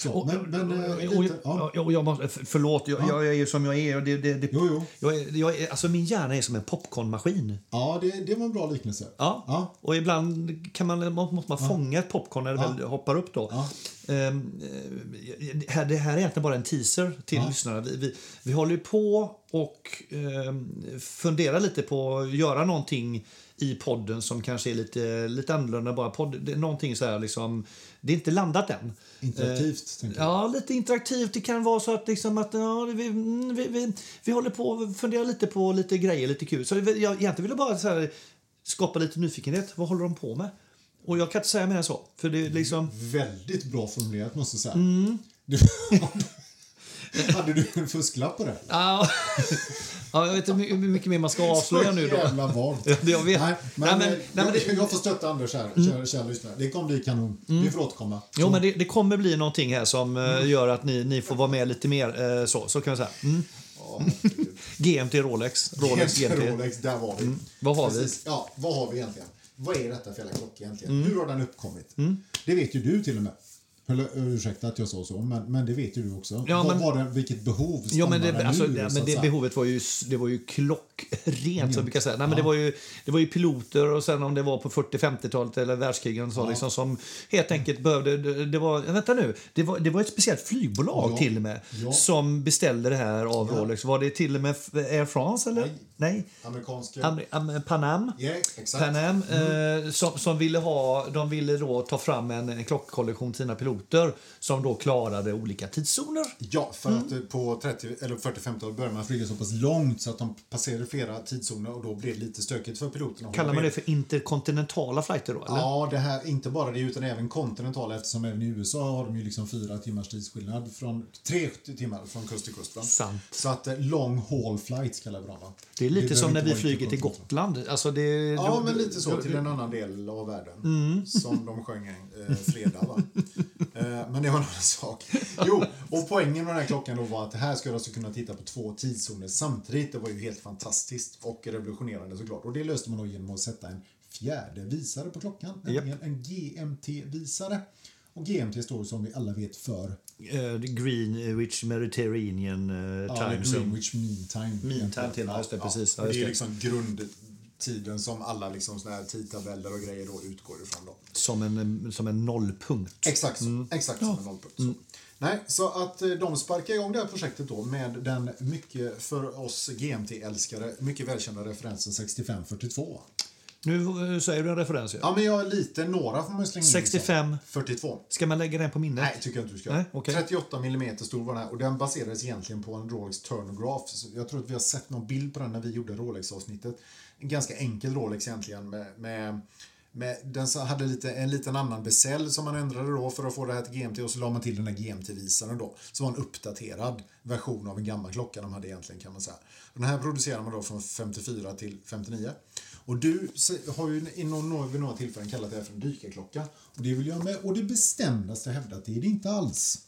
Speaker 1: Så,
Speaker 2: Och-
Speaker 1: men, men eh,
Speaker 2: och,
Speaker 1: lite, ja.
Speaker 2: och, och jag måste, för- förlåt, jag, jag är ju som jag är. och Det, det, det,
Speaker 1: Jo, jo.
Speaker 2: Jag är, jag är, alltså min hjärna är som en popcornmaskin.
Speaker 1: Ja, det, det var en bra liknelse.
Speaker 2: Ja.
Speaker 1: Ja.
Speaker 2: Och ibland kan man, må- måste man fånga ett popcorn när det väl hoppar upp. Då.
Speaker 1: Ja.
Speaker 2: Ehm, eh, det här- det här är egentligen bara en teaser till lyssnarna. Vi, vi, vi håller ju på och ehm, funderar lite på att göra någonting i podden som kanske är lite, lite annorlunda. Bara podd, det är någonting så här liksom, det är inte landat än. Eh,
Speaker 1: Interaktivt, tänker jag.
Speaker 2: Ja, lite interaktivt. Det kan vara så att, liksom att ja, vi, mm, vi, vi, vi håller på och funderar lite på lite grejer, lite kul. Så jag, egentligen vill jag bara så här, skapa lite nyfikenhet. Vad håller de på med? Och jag kan inte säga mer än så. För det är liksom...
Speaker 1: Väldigt bra formulerat, måste jag säga.
Speaker 2: Mm.
Speaker 1: Du, hade du en fusklapp på det?
Speaker 2: Ja, ja, jag vet inte hur mycket mer man ska avslöja nu då.
Speaker 1: Jävla vagt.
Speaker 2: Ja, det jag vet.
Speaker 1: Nej, men,
Speaker 2: Nej,
Speaker 1: eh,
Speaker 2: men- nej, men
Speaker 1: jag,
Speaker 2: det- Mm.
Speaker 1: jag får stötta Anders här, kära, kära lyssnare. Det kommer bli kanon. Vi får återkomma.
Speaker 2: Jo, men det, det kommer bli någonting här som eh, gör att ni, ni får vara med lite mer. eh, så, så kan jag säga. Mm.
Speaker 1: Ja, herregud.
Speaker 2: GMT Rolex. Rolex
Speaker 1: Rolex,
Speaker 2: GMT.
Speaker 1: Rolex, där var vi.
Speaker 2: Mm. Vad har vi?
Speaker 1: Ja,
Speaker 2: Mm.
Speaker 1: vad har vi egentligen? Vad är detta för jävla klocka egentligen? Hur har den uppkommit? Det vet ju du till och med. Eller, ursäkta att jag sa så, men, men det vet ju du också.
Speaker 2: Ja,
Speaker 1: Vad
Speaker 2: men-
Speaker 1: var det, vilket behov
Speaker 2: Ja, men
Speaker 1: stammar
Speaker 2: det, alltså,
Speaker 1: ur,
Speaker 2: ja,
Speaker 1: så
Speaker 2: men
Speaker 1: att
Speaker 2: det
Speaker 1: säga?
Speaker 2: behovet var ju, s- det var ju klockrent. Så jag brukar säga. Nej, men det, var ju, det var ju piloter och sen om det var på 40-50-talet eller världskrigen så, liksom, som helt enkelt behövde... Det, det var, vänta nu, det var, det var ett speciellt flygbolag
Speaker 1: Ja.
Speaker 2: till och med
Speaker 1: Ja.
Speaker 2: som beställde det här av
Speaker 1: Ja.
Speaker 2: Rolex. Var det till och med F- Air France? Eller?
Speaker 1: Nej.
Speaker 2: Nej.
Speaker 1: Amerikanska...
Speaker 2: Am- Am- Pan Am.
Speaker 1: ja, exakt.
Speaker 2: Pan Am,
Speaker 1: Mm.
Speaker 2: eh, som, som ville ha, de ville då ta fram en, en klockkollektion till sina piloter som då klarade olika tidszoner.
Speaker 1: Ja, för att
Speaker 2: Mm.
Speaker 1: eh, på 30 eller 40-50-talet började man flyga så pass långt så att de passerade flera tidszoner och då blev det lite stökigt för piloterna.
Speaker 2: Kallar man
Speaker 1: Och
Speaker 2: det för interkontinentala flighter då? Eller?
Speaker 1: Ja, det här, inte bara det utan även kontinentala eftersom även i USA har de ju liksom fyra timmars tidsskillnad från tre timmar från kust till kust. va?
Speaker 2: Sant.
Speaker 1: Så att eh, long haul flights kallar vi dem. va?
Speaker 2: Det är lite
Speaker 1: behöver
Speaker 2: som när
Speaker 1: inte
Speaker 2: vi
Speaker 1: vara
Speaker 2: flyger till
Speaker 1: interkontinentala.
Speaker 2: Gotland. Alltså det,
Speaker 1: Ja,
Speaker 2: då-
Speaker 1: men lite så
Speaker 2: då-
Speaker 1: till en annan del av världen.
Speaker 2: Mm.
Speaker 1: Som de sjöng eh, fredag, va? eh, men det var en annan sak. Jo, och poängen med den här klockan då var att det här skulle alltså kunna titta på två tidszoner samtidigt. Det var ju helt fantastiskt och revolutionerande såklart. Och det löste man då genom att sätta en fjärde visare på klockan.
Speaker 2: Japp.
Speaker 1: En, en GMT-visare. Och GMT står ju som vi alla vet för
Speaker 2: Eh, Greenwich Mediterranean eh,
Speaker 1: ja,
Speaker 2: time
Speaker 1: eller
Speaker 2: zone.
Speaker 1: Greenwich Mean Time.
Speaker 2: Mean time till, ja, just det, precis. Ja, just
Speaker 1: det är
Speaker 2: det.
Speaker 1: liksom grundtiden som alla liksom såna här tidtabeller och grejer då utgår ifrån. Då.
Speaker 2: Som en, som en nollpunkt.
Speaker 1: Exakt så.
Speaker 2: Mm.
Speaker 1: Exakt som en nollpunkt. Så. Nej, så att eh, de sparkar igång det här projektet då med den mycket, för oss GMT-älskare, mycket välkända referensen 6542.
Speaker 2: Nu eh, säger du en referens. ju.
Speaker 1: Ja, men jag är lite, några får man ju slänga in.
Speaker 2: 65.
Speaker 1: 42.
Speaker 2: Ska man lägga den på minnet?
Speaker 1: Nej, tycker jag inte du ska.
Speaker 2: Nej, okej.
Speaker 1: 38 mm stor var den här och den baserades egentligen på en Rolex Turnograph. Så Jag tror att vi har sett någon bild på den när vi gjorde Rolex-avsnittet. En ganska enkel Rolex egentligen med, med, med den så hade lite, en liten annan bezel som man ändrade då för att få det här till GMT och så la man till den här GMT-visaren då. Som var en uppdaterad version av en gammal klocka de hade egentligen kan man säga. Den här producerar man då från 54 till 59. Och du se- har ju i någon, någon- vid några tillfällen kallat det här för en dykarklocka. Och det vill jag med och det bestämdaste hävda att det är det inte alls.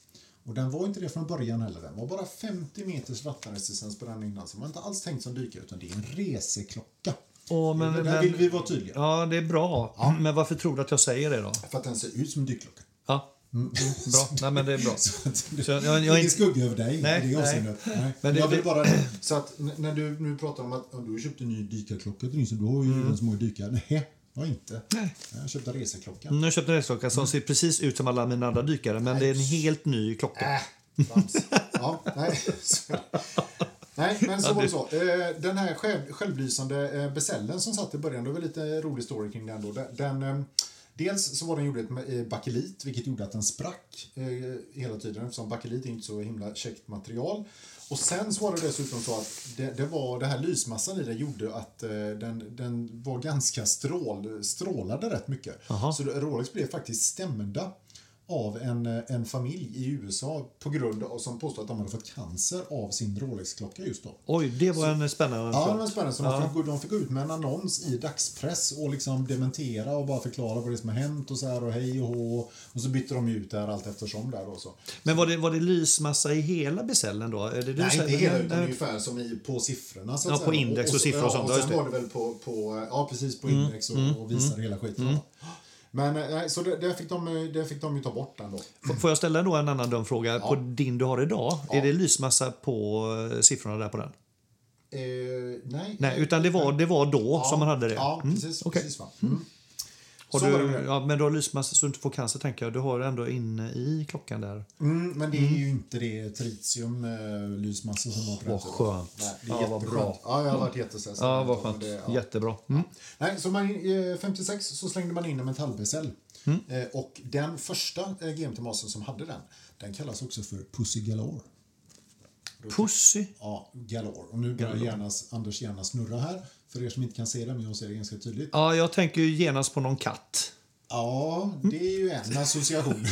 Speaker 1: Och den var inte det från början heller. Den var bara 50 meters vattenresistens på den innan. Så man har inte alls tänkt som dykare utan det är en reseklocka.
Speaker 2: Åh, men-
Speaker 1: Där
Speaker 2: men-
Speaker 1: vill vi vara tydliga.
Speaker 2: Ja, det är bra. Men varför tror du att jag säger det då?
Speaker 1: För att den ser ut som en dykklocka.
Speaker 2: Ja,
Speaker 1: Mm.
Speaker 2: bra. Nej, men det är bra.
Speaker 1: Så att du,
Speaker 2: Så jag- jag är
Speaker 1: ingen
Speaker 2: inte-
Speaker 1: skugga över dig
Speaker 2: Nej,
Speaker 1: i det
Speaker 2: nej.
Speaker 1: avseendet. Nej.
Speaker 2: Men det-
Speaker 1: jag vill
Speaker 2: det-
Speaker 1: bara... Så att n- när du nu pratar om att ja, du har köpt en ny dykarklocka till din, så du har ju redan så många dykare. Nej, jag har inte.
Speaker 2: Mm. Nej.
Speaker 1: Jag köpte en reseklocka.
Speaker 2: Nu köpte jag en resklocka
Speaker 1: Mm.
Speaker 2: som ser precis ut som alla mina andra dykare, men det är en helt ny klocka.
Speaker 1: Äh, trams. ja, nej. Så- Nej, men så var det så. Eh, Den här själv, självlysande eh, besällen som satt i början, det var lite rolig story kring den då. Den, den, eh, dels så var den gjord i bakelit, vilket gjorde att den sprack eh, hela tiden eftersom bakelit är inte så himla käckt material. Och sen så var det dessutom så att det, det var, det här lysmassan i den gjorde att eh, den, den var ganska strål, strålade rätt mycket.
Speaker 2: Jaha.
Speaker 1: Så Rolex blev faktiskt stämda av en, eh, en familj i USA på grund av, som påstod att de hade fått cancer av sin Rolex-klocka just då.
Speaker 2: Oj, det var en spännande
Speaker 1: Ja, det
Speaker 2: fråga.
Speaker 1: var spännande. Så de, fick, gå- de fick gå ut med en annons i dagspress och liksom dementera och bara förklara vad det är som har hänt och så här och hej och hå. Och så bytte de ju ut det här allt eftersom där och så.
Speaker 2: Men var det, var det lysmassa i hela besällen då? Är det du
Speaker 1: Nej,
Speaker 2: säger? eh,
Speaker 1: inte hela,
Speaker 2: Nej,
Speaker 1: utan
Speaker 2: nej.
Speaker 1: ungefär som i, på siffrorna. Så att
Speaker 2: Ja,
Speaker 1: säga.
Speaker 2: på index och siffror och sånt,
Speaker 1: Ja,
Speaker 2: ja,
Speaker 1: och
Speaker 2: just
Speaker 1: sen
Speaker 2: det.
Speaker 1: var
Speaker 2: Mm.
Speaker 1: det väl på, på, eh, ja, precis på index och, och visade hela skiten. Men eh, nej, så det, det, fick de, eh, det fick de ju ta bort den då.
Speaker 2: F- Får jag ställa då en annan dum fråga? På din du har idag, är det lysmassa på eh, siffrorna där på den?
Speaker 1: Eh, nej.
Speaker 2: Nej, utan det var, det var då som man hade det?
Speaker 1: Ja,
Speaker 2: Mm,
Speaker 1: precis.
Speaker 2: okej.
Speaker 1: precis va. Mm.
Speaker 2: Har
Speaker 1: Så var det med
Speaker 2: du,
Speaker 1: det.
Speaker 2: ja, men du har lysmassa så du inte får cancer tänker jag. Du har ändå inne i klockan där.
Speaker 1: Mm, men det är ju inte det tritium eh, lysmassa som var på
Speaker 2: Vad
Speaker 1: den tiden.
Speaker 2: skönt.
Speaker 1: Nej, det är
Speaker 2: Ja, vad
Speaker 1: jätteskönt.
Speaker 2: bra.
Speaker 1: Ja, jag har varit jättestressad.
Speaker 2: Ja, vad skönt.
Speaker 1: Men det- ja.
Speaker 2: Jättebra. Mm.
Speaker 1: Nej, så man, eh, 56 så slängde man in en metallbesäll.
Speaker 2: Mm.
Speaker 1: Eh, och den första eh, GMT-masen som hade den, den kallas också för Pussy Galore.
Speaker 2: Pussy.
Speaker 1: Ja, Galore. Och nu börjar gärna, Anders gärna snurra här. För er som inte kan se det, men jag ser det ganska tydligt.
Speaker 2: Ja, jag tänker ju genast på någon katt.
Speaker 1: Ja, det är ju en association.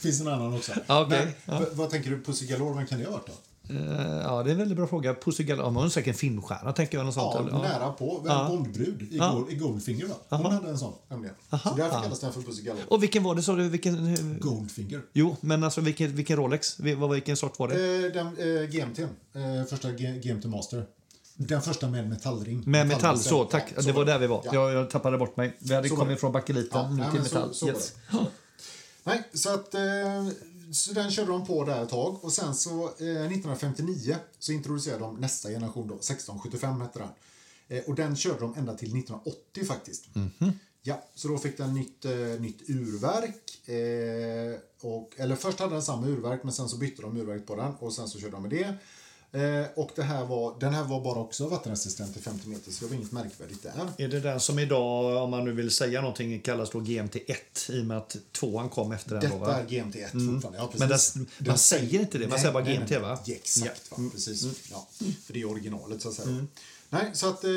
Speaker 1: finns en annan också.
Speaker 2: Ja, okej.
Speaker 1: Men, v- Vad tänker du, Pussy Galore, vem kan det ha varit då?
Speaker 2: Eh, ja, det är en väldigt bra fråga. Pussy Galore. Ja, men hon är säkert en filmstjärna tänker jag. Något sånt,
Speaker 1: Ja,
Speaker 2: eller? ja.
Speaker 1: nära på. En Bondbrud i, Gold, i Goldfinger. Då. Hon hade en sån. nämligen. Så därför kallas den för Pussy Galore.
Speaker 2: Och vilken var det sa du? Vilken...
Speaker 1: Goldfinger.
Speaker 2: Jo, men alltså vilken, vilken Rolex? Vil- Vad, vilken sort var det?
Speaker 1: Eh, den, eh, GMT, eh, första G- GMT Master. Den första med metallring.
Speaker 2: Med metall,
Speaker 1: Metallbeställ.
Speaker 2: så tack.
Speaker 1: Ja, var
Speaker 2: det var där vi var.
Speaker 1: Ja.
Speaker 2: Jag, jag tappade bort mig. Vi hade
Speaker 1: Så var
Speaker 2: kommit
Speaker 1: det.
Speaker 2: från bakeliten
Speaker 1: Ja,
Speaker 2: nu
Speaker 1: nej,
Speaker 2: till
Speaker 1: men så-
Speaker 2: metall.
Speaker 1: så var
Speaker 2: yes.
Speaker 1: det. Nej, så att eh, så den körde de på där ett tag och sen så eh, 1959 så introducerade de nästa generation då, 1675 hette den. Eh, och den körde de ända till 1980 faktiskt. Ja, så då fick den nytt, eh, nytt urverk. Eh, och, eller först hade den samma urverk men sen så bytte de urverket på den och sen så körde de med det. Eh, och det här var, den här var bara också vattenresistent i 50 meter så det var inget märkvärdigt där.
Speaker 2: Är det den som idag, om man nu vill säga någonting, kallas då GMT1 i och med att tvåan kom efter den? då, va?
Speaker 1: Detta är GMT1 fortfarande. Ja, precis.
Speaker 2: Mm. Men dess- man
Speaker 1: Den
Speaker 2: säger inte det, man säger bara GMT, va? Mm.
Speaker 1: Ja, exakt, va? precis. Ja, för det är originalet så att säga. Nej, så att, eh,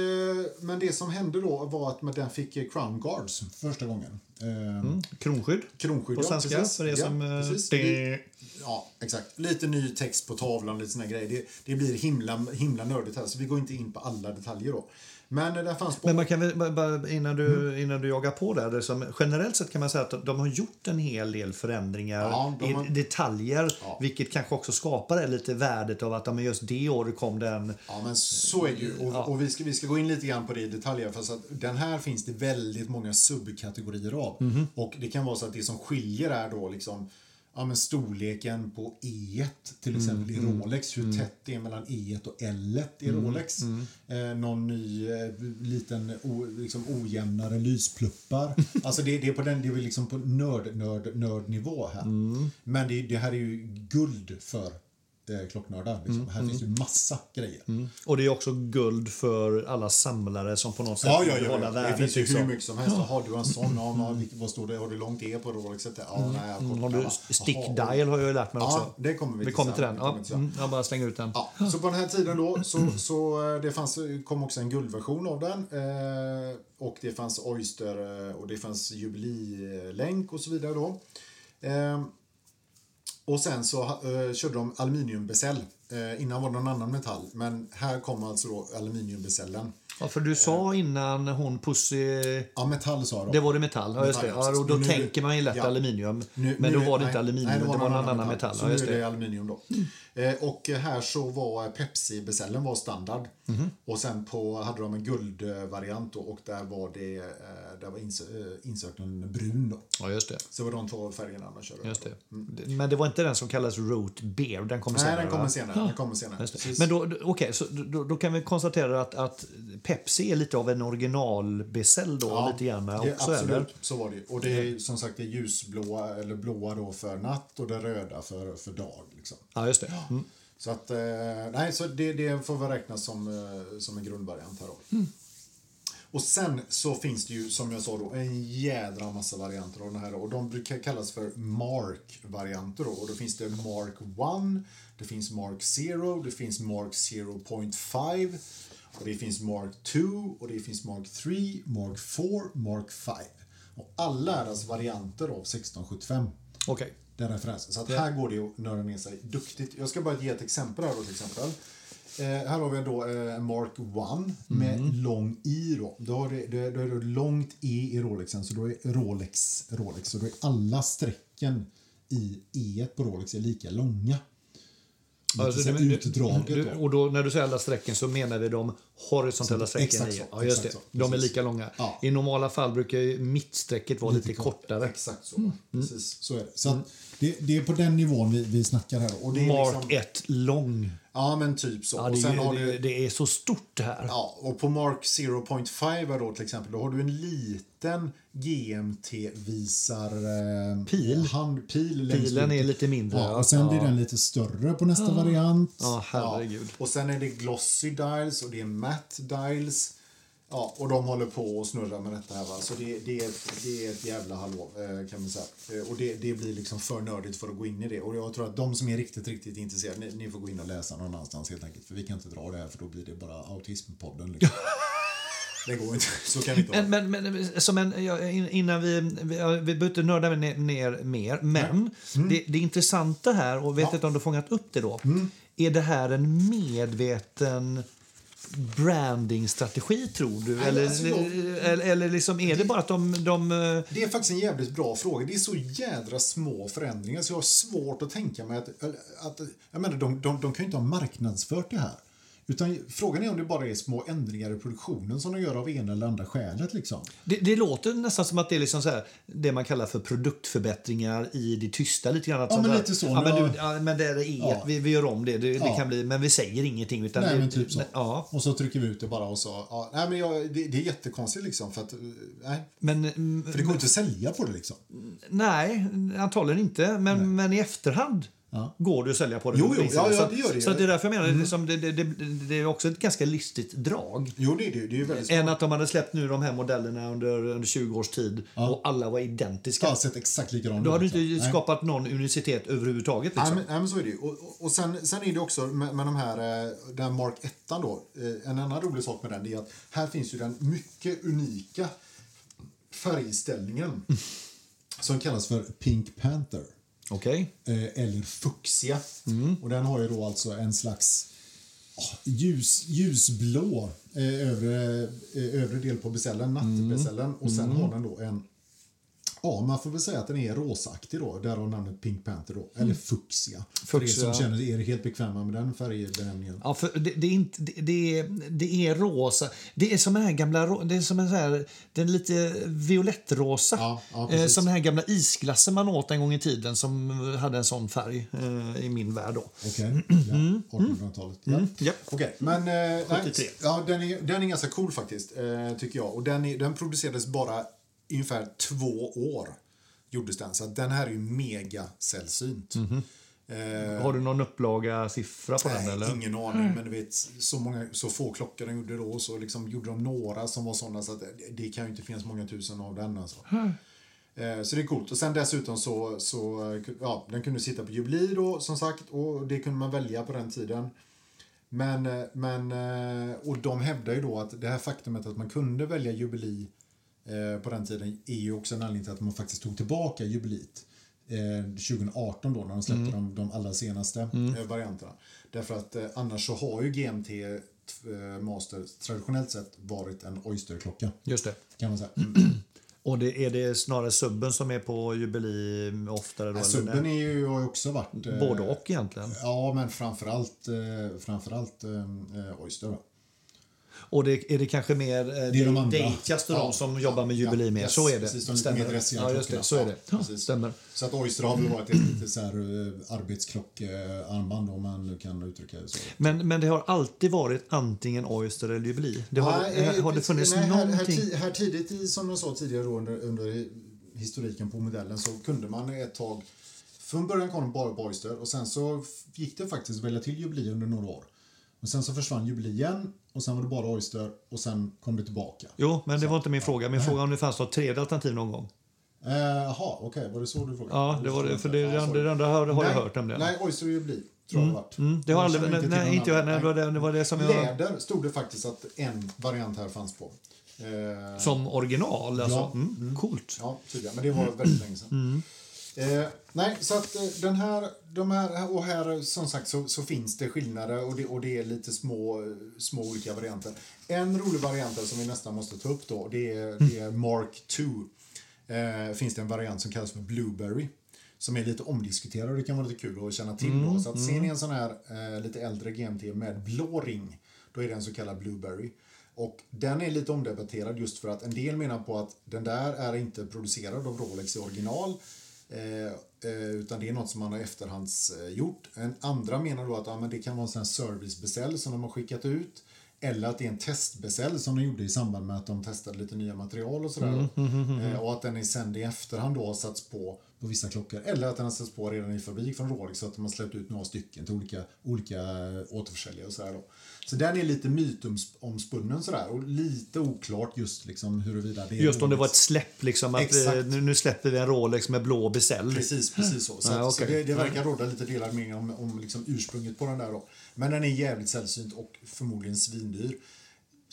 Speaker 1: men det som hände då var att man- den fick eh, Crown Guards första gången. Eh,
Speaker 2: Mm. Kronskydd?
Speaker 1: Kronskydd,
Speaker 2: På
Speaker 1: ja,
Speaker 2: svenska,
Speaker 1: precis.
Speaker 2: för det är
Speaker 1: Ja,
Speaker 2: som... eh,
Speaker 1: precis.
Speaker 2: det-
Speaker 1: Ja, exakt. Lite ny text på tavlan, lite såna grejer. Det, det blir himla, himla nördigt här, så vi går inte in på alla detaljer då. Men eh, den fanns på...
Speaker 2: Men man kan väl, bara- bara innan, du, innan du jagar på där, det som, generellt sett kan man säga att de har gjort en hel del förändringar
Speaker 1: Ja, de
Speaker 2: i
Speaker 1: har-
Speaker 2: detaljer,
Speaker 1: Ja.
Speaker 2: vilket kanske också skapar det lite värdet av att ja, men just det året kom den.
Speaker 1: Ja, men så är det ju. Och, och vi, ska, vi ska gå in lite grann på det i detalj. här, För så att den här finns det väldigt många subkategorier av. Och det kan vara så att det som skiljer är då liksom Ja, men storleken på E till exempel i Rolex, hur tätt det är mellan E och L i Rolex. Eh, någon ny eh, liten o, liksom ojämnare lyspluppar. alltså det, det är på den, det är väl liksom på nörd, nörd, nördnivå här. Men det, det här är ju guld för eh, klocknördar. Liksom.
Speaker 2: Mm,
Speaker 1: Här finns ju massa grejer.
Speaker 2: Och det är också guld för alla samlare som på något sätt
Speaker 1: Ja, ja,
Speaker 2: vill
Speaker 1: ja,
Speaker 2: hålla
Speaker 1: ja. Det
Speaker 2: värdet.
Speaker 1: finns ju
Speaker 2: liksom.
Speaker 1: hur mycket som helst. Har du en sån? Ja, men vilket- vad står det? Har du långt E på Rolexet? Ja, nej, jag
Speaker 2: Mm. Har
Speaker 1: kortar.
Speaker 2: du stick dial har jag ju lärt mig
Speaker 1: Ja,
Speaker 2: också.
Speaker 1: det kommer vi
Speaker 2: vi
Speaker 1: till
Speaker 2: kommer till
Speaker 1: sen.
Speaker 2: den.
Speaker 1: Vi
Speaker 2: Ja,
Speaker 1: kommer till sen.
Speaker 2: mm, jag bara slänger ut den.
Speaker 1: Ja, så på den här tiden då så, så eh, det fanns, kom också en guldversion av den. Eh, och det fanns Oyster eh, och det fanns jubililänk och så vidare då. Eh, och sen så eh, körde de aluminiumbecell. Eh, innan var det någon annan metall, men här kom alltså då aluminiumbecellen.
Speaker 2: Ja, för du
Speaker 1: Eh.
Speaker 2: sa innan hon Pussy...
Speaker 1: Ja, metall sa de.
Speaker 2: Det var det metall. Ja, just det.
Speaker 1: Metall, ja,
Speaker 2: Ja, och då
Speaker 1: precis. Nu-
Speaker 2: tänker man ju lätt
Speaker 1: ja.
Speaker 2: aluminium.
Speaker 1: Nu-
Speaker 2: men
Speaker 1: nu-
Speaker 2: då var det
Speaker 1: nej,
Speaker 2: inte aluminium,
Speaker 1: nej,
Speaker 2: det var, någon annan metall.
Speaker 1: Så
Speaker 2: Ja,
Speaker 1: nu
Speaker 2: just
Speaker 1: är det
Speaker 2: det. Mm.
Speaker 1: aluminium då. Eh, och här så var Pepsi-besällen var standard.
Speaker 2: Mhm.
Speaker 1: Och sen på, hade de en guldvariant då, och där var det eh, där var ins eh, insökten brun då.
Speaker 2: Ja, just det.
Speaker 1: Så var de två färgerna de körde.
Speaker 2: Just det. Men det var inte den som kallas Root Beer. Den kommer
Speaker 1: Mm. Nej,
Speaker 2: senare.
Speaker 1: den kommer
Speaker 2: va?
Speaker 1: senare. Den kommer senare.
Speaker 2: Just det.
Speaker 1: Precis.
Speaker 2: Men då, då- okej, så då, då kan vi konstatera att, att Pepsi är lite av en originalbesäll då,
Speaker 1: Ja,
Speaker 2: lite grann
Speaker 1: det-
Speaker 2: också,
Speaker 1: absolut,
Speaker 2: eller? Mm.
Speaker 1: så var det ju. Och det är ju som sagt det ljusblåa eller blåa då för natt och det röda för, för dag. Liksom.
Speaker 2: Ja, just det. Mm.
Speaker 1: Så att, eh, nej, så det, det får väl räknas som, eh, som en grundvariant här då. Och sen så finns det ju, som jag sa då, en jädra massa varianter av den här då. Och de brukar kallas för Mark-varianter då. Och då finns det Mark 1, det finns Mark 0, det finns Mark 0.5 och det finns Mark 2 och det finns Mark 3, Mark 4, Mark 5. Och alla är alltså varianter av 1675
Speaker 2: Okej.
Speaker 1: den referensen. Så att här går det ju att nörda ner sig duktigt. Jag ska bara ge ett exempel här då till exempel. Eh, här har vi då eh, Mark 1 med
Speaker 2: Mm.
Speaker 1: lång i då. Då, har det, det, då är det långt e i Rolexen så då är Rolex Rolex. Så då är alla strecken i e på Rolex är lika långa. Lite
Speaker 2: Alltså,
Speaker 1: så här
Speaker 2: du-
Speaker 1: utdraget
Speaker 2: du-
Speaker 1: då.
Speaker 2: Och då, när du säger alla strecken så menar vi de horisontella strecken
Speaker 1: Exakt
Speaker 2: i.
Speaker 1: så,
Speaker 2: Ja, just det.
Speaker 1: exakt så,
Speaker 2: de är
Speaker 1: precis.
Speaker 2: lika långa.
Speaker 1: Ja.
Speaker 2: I normala fall brukar ju mittstrecket vara lite, kortare.
Speaker 1: Exakt
Speaker 2: Mm.
Speaker 1: så. Precis, så är det. Så att det, det är på den nivån vi, vi snackar här. då. Och det är
Speaker 2: Mark
Speaker 1: liksom-
Speaker 2: 1 lång.
Speaker 1: Ja, men typ så.
Speaker 2: Ja,
Speaker 1: och
Speaker 2: det,
Speaker 1: sen har
Speaker 2: är,
Speaker 1: du,
Speaker 2: det, det är så stort det här.
Speaker 1: Ja, och på Mark 0.5 här då till exempel, då har du en liten GMT-visar... Eh,
Speaker 2: Pil.
Speaker 1: Handpil. längst
Speaker 2: Pilen
Speaker 1: ut.
Speaker 2: är lite mindre.
Speaker 1: Ja, och sen blir den lite större på nästa variant.
Speaker 2: Ja, herregud.
Speaker 1: Och sen är det glossy dials och det är matte dials. Ja, och de håller på och snurrar med detta här va. Så det, det, är, ett, det är ett jävla hallå eh, kan man säga. Eh, Och det, det blir liksom för nördigt för att gå in i det. Och jag tror att de som är riktigt, riktigt intresserade, ni, ni får gå in och läsa någon annanstans helt enkelt. För vi kan inte dra det här för då blir det bara autismpodden liksom. det går inte, så kan vi inte ha det.
Speaker 2: Men, men, men som en, ja, in- innan vi, vi, ja, vi behöver inte nörda ner, ner mer, men
Speaker 1: Mm.
Speaker 2: det, det intressanta här, och vet inte om du har fångat upp det då,
Speaker 1: Mm.
Speaker 2: är det här en medveten brandingstrategi tror du?
Speaker 1: Nej,
Speaker 2: eller,
Speaker 1: alltså, jag-
Speaker 2: eller, eller liksom är det, bara att de, de eh,
Speaker 1: Det är faktiskt en jävligt bra fråga. Det är så jädra små förändringar så jag har svårt att tänka mig att... eller, att jag menar, de, de, de kan ju inte ha marknadsfört det här. Utan frågan är om det bara är små ändringar i produktionen som de gör av ena eller andra skälet. Liksom.
Speaker 2: Det, det låter nästan som att det är liksom så här, det man kallar för produktförbättringar i det tysta. lite grann. Att
Speaker 1: Ja,
Speaker 2: sånt
Speaker 1: men
Speaker 2: här,
Speaker 1: lite så.
Speaker 2: Ja, men,
Speaker 1: Nu
Speaker 2: du,
Speaker 1: har-
Speaker 2: ja, men det är inget,
Speaker 1: Ja.
Speaker 2: vi, vi gör om det, det, det
Speaker 1: Ja.
Speaker 2: kan bli, men vi säger ingenting. Utan
Speaker 1: Nej,
Speaker 2: det,
Speaker 1: men typ så.
Speaker 2: Ja.
Speaker 1: Och så trycker vi ut det bara och så. Ja, nej, men jag, det, det är jättekonstigt liksom för att... eh, Nej,
Speaker 2: Men, mm,
Speaker 1: för det går inte att sälja på det liksom.
Speaker 2: nej, antagligen inte. Men, men i efterhand
Speaker 1: Ja.
Speaker 2: går det att sälja på det.
Speaker 1: Jo,
Speaker 2: på
Speaker 1: jo,
Speaker 2: priserna.
Speaker 1: ja, ja,
Speaker 2: så att-
Speaker 1: det gör det. Mm.
Speaker 2: Så att det är därför jag menar, det, är som, det, det, det, det är också ett ganska listigt drag.
Speaker 1: Jo, det är det ju. Det är ju väldigt...
Speaker 2: Än att de hade släppt nu de här modellerna under, under 20 års tid och alla var identiska.
Speaker 1: Jag har sett exakt likadant
Speaker 2: Då har du
Speaker 1: ut, liksom.
Speaker 2: inte
Speaker 1: Nej.
Speaker 2: skapat någon unicitet överhuvudtaget.
Speaker 1: Nej,
Speaker 2: Liksom.
Speaker 1: men, nej, men så är det ju. Och, och, och sen, sen är det också med, med de här, eh, den Mark 1 då. eh, En annan rolig sak med den är att här finns ju den mycket unika färgställningen som kallas för Pink Panther.
Speaker 2: Okej.
Speaker 1: eh, Eller fuxia. Och den har ju då alltså en slags ah, Ljus, ljusblå eh, övre, eh, övre del på besällen, nattbesällen. Och sen har den då en Ja, man får väl säga att den är rosaktig då, därav namnet Pink Panther då, eller fuxia. För er
Speaker 2: Fuchsia.
Speaker 1: som känner er helt bekväma med den färgbenämningen.
Speaker 2: Ja, för det, det, är inte, det, det, är, det är rosa. Det är som den här gamla... ro- Det är som en så här, den är lite violettrosa.
Speaker 1: Ja, ja,
Speaker 2: eh,
Speaker 1: precis.
Speaker 2: som den här gamla isglassen man åt en gång i tiden som hade en sån färg eh, i min värld. Då.
Speaker 1: Okej, ja, 1800-talet. Ja.
Speaker 2: Ja.
Speaker 1: Okej, men eh, nej,
Speaker 2: 73.
Speaker 1: ja, den, är, den är ganska cool faktiskt, eh, tycker jag. Och den, är, den producerades bara i ungefär två år. Gjordes den, så att den här är ju mega sällsynt. Eh,
Speaker 2: Har du någon upplaga siffra på den?
Speaker 1: nej,
Speaker 2: Eller?
Speaker 1: Ingen aning, men du vet, så, många, så få klockor de gjorde då, så liksom gjorde de några som var sådana så att det, det kan ju inte finnas många tusen av den. Alltså. Eh, Så det är coolt. Och sen dessutom så, så eh, ja, den kunde sitta på jubilee då, som sagt, och det kunde man välja på den tiden. Men, eh, men, eh, och de hävdar ju då att det här faktumet att man kunde välja jubilee eh, på den tiden är ju också en anledning till att man faktiskt tog tillbaka jubileet eh, 2018 då när de
Speaker 2: Mm.
Speaker 1: släppte de, de allra senaste eh, varianterna. Därför att eh, annars så har ju GMT eh, Master traditionellt sett varit en oysterklocka
Speaker 2: Just det.
Speaker 1: kan man säga.
Speaker 2: Mm. Och det, är det snarare subben som är på jubileum oftare? Då,
Speaker 1: Ja,
Speaker 2: eller
Speaker 1: Subben är ju, har ju också varit... eh,
Speaker 2: Både och egentligen.
Speaker 1: Ja, men framförallt, eh, framförallt eh, Oyster. Va?
Speaker 2: Och det, är det kanske mer eh,
Speaker 1: Det är de andra.
Speaker 2: Deitas och
Speaker 1: Ja,
Speaker 2: de som jobbar med
Speaker 1: ja,
Speaker 2: jubileum mer?
Speaker 1: yes,
Speaker 2: så är det.
Speaker 1: precis, de lite mer dressiga
Speaker 2: ja, just
Speaker 1: klockorna.
Speaker 2: det. Så är det.
Speaker 1: Ja,
Speaker 2: Ja,
Speaker 1: precis.
Speaker 2: stämmer.
Speaker 1: Så att Oyster har väl varit ett lite så här eh, arbetsklockarmband om man nu kan uttrycka det så.
Speaker 2: Men, men det har alltid varit antingen Oyster eller Jubilee. Det har,
Speaker 1: Nej, eh,
Speaker 2: har det funnits
Speaker 1: nej, här, här,
Speaker 2: någonting?
Speaker 1: ti- här tidigt, i, som jag sa tidigare då, under, under hi- historiken på modellen så kunde man ett tag... Från början kom de bara på Oyster och sen så f- gick det faktiskt att välja till jubilee under några år. Och sen så försvann jubilee igen och sen var det bara Oyster och sen kom det tillbaka.
Speaker 2: Jo, men det var inte min fråga. Min fråga är om det fanns något tredje alternativ någon gång.
Speaker 1: Eh, Jaha, okej. Var det så du frågade?
Speaker 2: Ja, det var det. För det,
Speaker 1: Ja,
Speaker 2: det, andra-
Speaker 1: sorry.
Speaker 2: det andra har, har jag
Speaker 1: Nej,
Speaker 2: hört nämligen.
Speaker 1: Nej, Oyster Jubilee tror jag det varit.
Speaker 2: Mm, det har
Speaker 1: Jag
Speaker 2: aldrig...
Speaker 1: känner
Speaker 2: Nej,
Speaker 1: till någon
Speaker 2: nej, inte jag.
Speaker 1: annan.
Speaker 2: Nej, det, var det, det var det som jag...
Speaker 1: Läder stod det faktiskt att en variant här fanns på. Eh,
Speaker 2: Som original alltså.
Speaker 1: Ja.
Speaker 2: Mm, coolt.
Speaker 1: Ja, tydligen. Men det var väldigt länge sedan. Eh, nej, så att eh, den här, de här, och här som sagt så, så finns det skillnader och det, och det är lite små, små olika varianter. En rolig variant här som vi nästan måste ta upp då, det är, det är Mark 2. Eh, finns det en variant som kallas för Blueberry. Som är lite omdiskuterad och det kan vara lite kul att känna till då. Så att ser ni en sån här eh, lite äldre GMT med blå ring, då är den så kallad Blueberry. Och den är lite omdebatterad just för att en del menar på att den där är inte producerad av Rolex i original. Eh, eh, utan det är något som man har efterhandsgjort. En andra menar då att ja, men det kan vara en sån här servicebeställ som de har skickat ut. Eller att det är en testbeställ som de gjorde i samband med att de testade lite nya material och sådär.
Speaker 2: Mm,
Speaker 1: Eh, och att den är sänd i efterhand då har satts på på vissa klockor. Eller att den har satts på redan i fabrik från Rolex så att de har släppt ut några stycken till olika, olika eh, återförsäljare och sådär då. Så den är lite mytomspunnen sådär och lite oklart just liksom huruvida det är
Speaker 2: Just om det var
Speaker 1: Rolex.
Speaker 2: ett släpp, liksom. Att,
Speaker 1: Exakt.
Speaker 2: eh, nu, nu släpper vi en Rolex med blå besäll.
Speaker 1: Precis, precis så. Så,
Speaker 2: Ja,
Speaker 1: att, så
Speaker 2: Hm. okej.
Speaker 1: det, det verkar råda lite delade meningar om, om liksom ursprunget på den där. Då. Men den är jävligt sällsynt och förmodligen svindyr.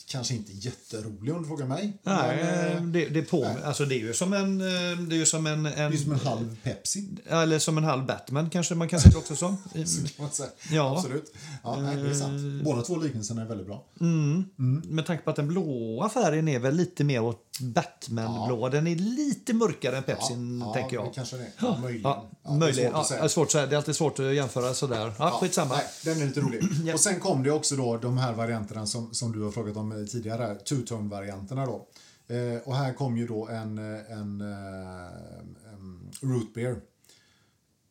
Speaker 1: Kanske inte jätterolig om du frågar mig.
Speaker 2: Nej,
Speaker 1: men, eh,
Speaker 2: det, det, på, alltså det är ju som en... eh, Det är ju som en, en
Speaker 1: det är som en halv Pepsi.
Speaker 2: Eller som en halv Batman kanske man kan se det också som.
Speaker 1: så kan man säga.
Speaker 2: Ja. Eh.
Speaker 1: Absolut. Ja, nej, det är sant. Båda två liknelserna är väldigt bra.
Speaker 2: Med tanke på att den blåa färgen är väl lite mer åt Batman-blå. Den är lite mörkare än Pepsin,
Speaker 1: ja,
Speaker 2: tänker jag.
Speaker 1: det kanske det är. Möjligen.
Speaker 2: Ja,
Speaker 1: det är
Speaker 2: möjligen.
Speaker 1: svårt att
Speaker 2: Ja,
Speaker 1: säga.
Speaker 2: alltså, det, är svårt att säga. det är alltid svårt att jämföra sådär. Ja,
Speaker 1: Ja,
Speaker 2: skitsamma.
Speaker 1: Nej, den är lite rolig.
Speaker 2: Ja.
Speaker 1: Och sen kom det också då de här varianterna som, som du har frågat om eh, tidigare, här, two-tone-varianterna då. Eh, och här kom ju då en, eh, en, eh, en root beer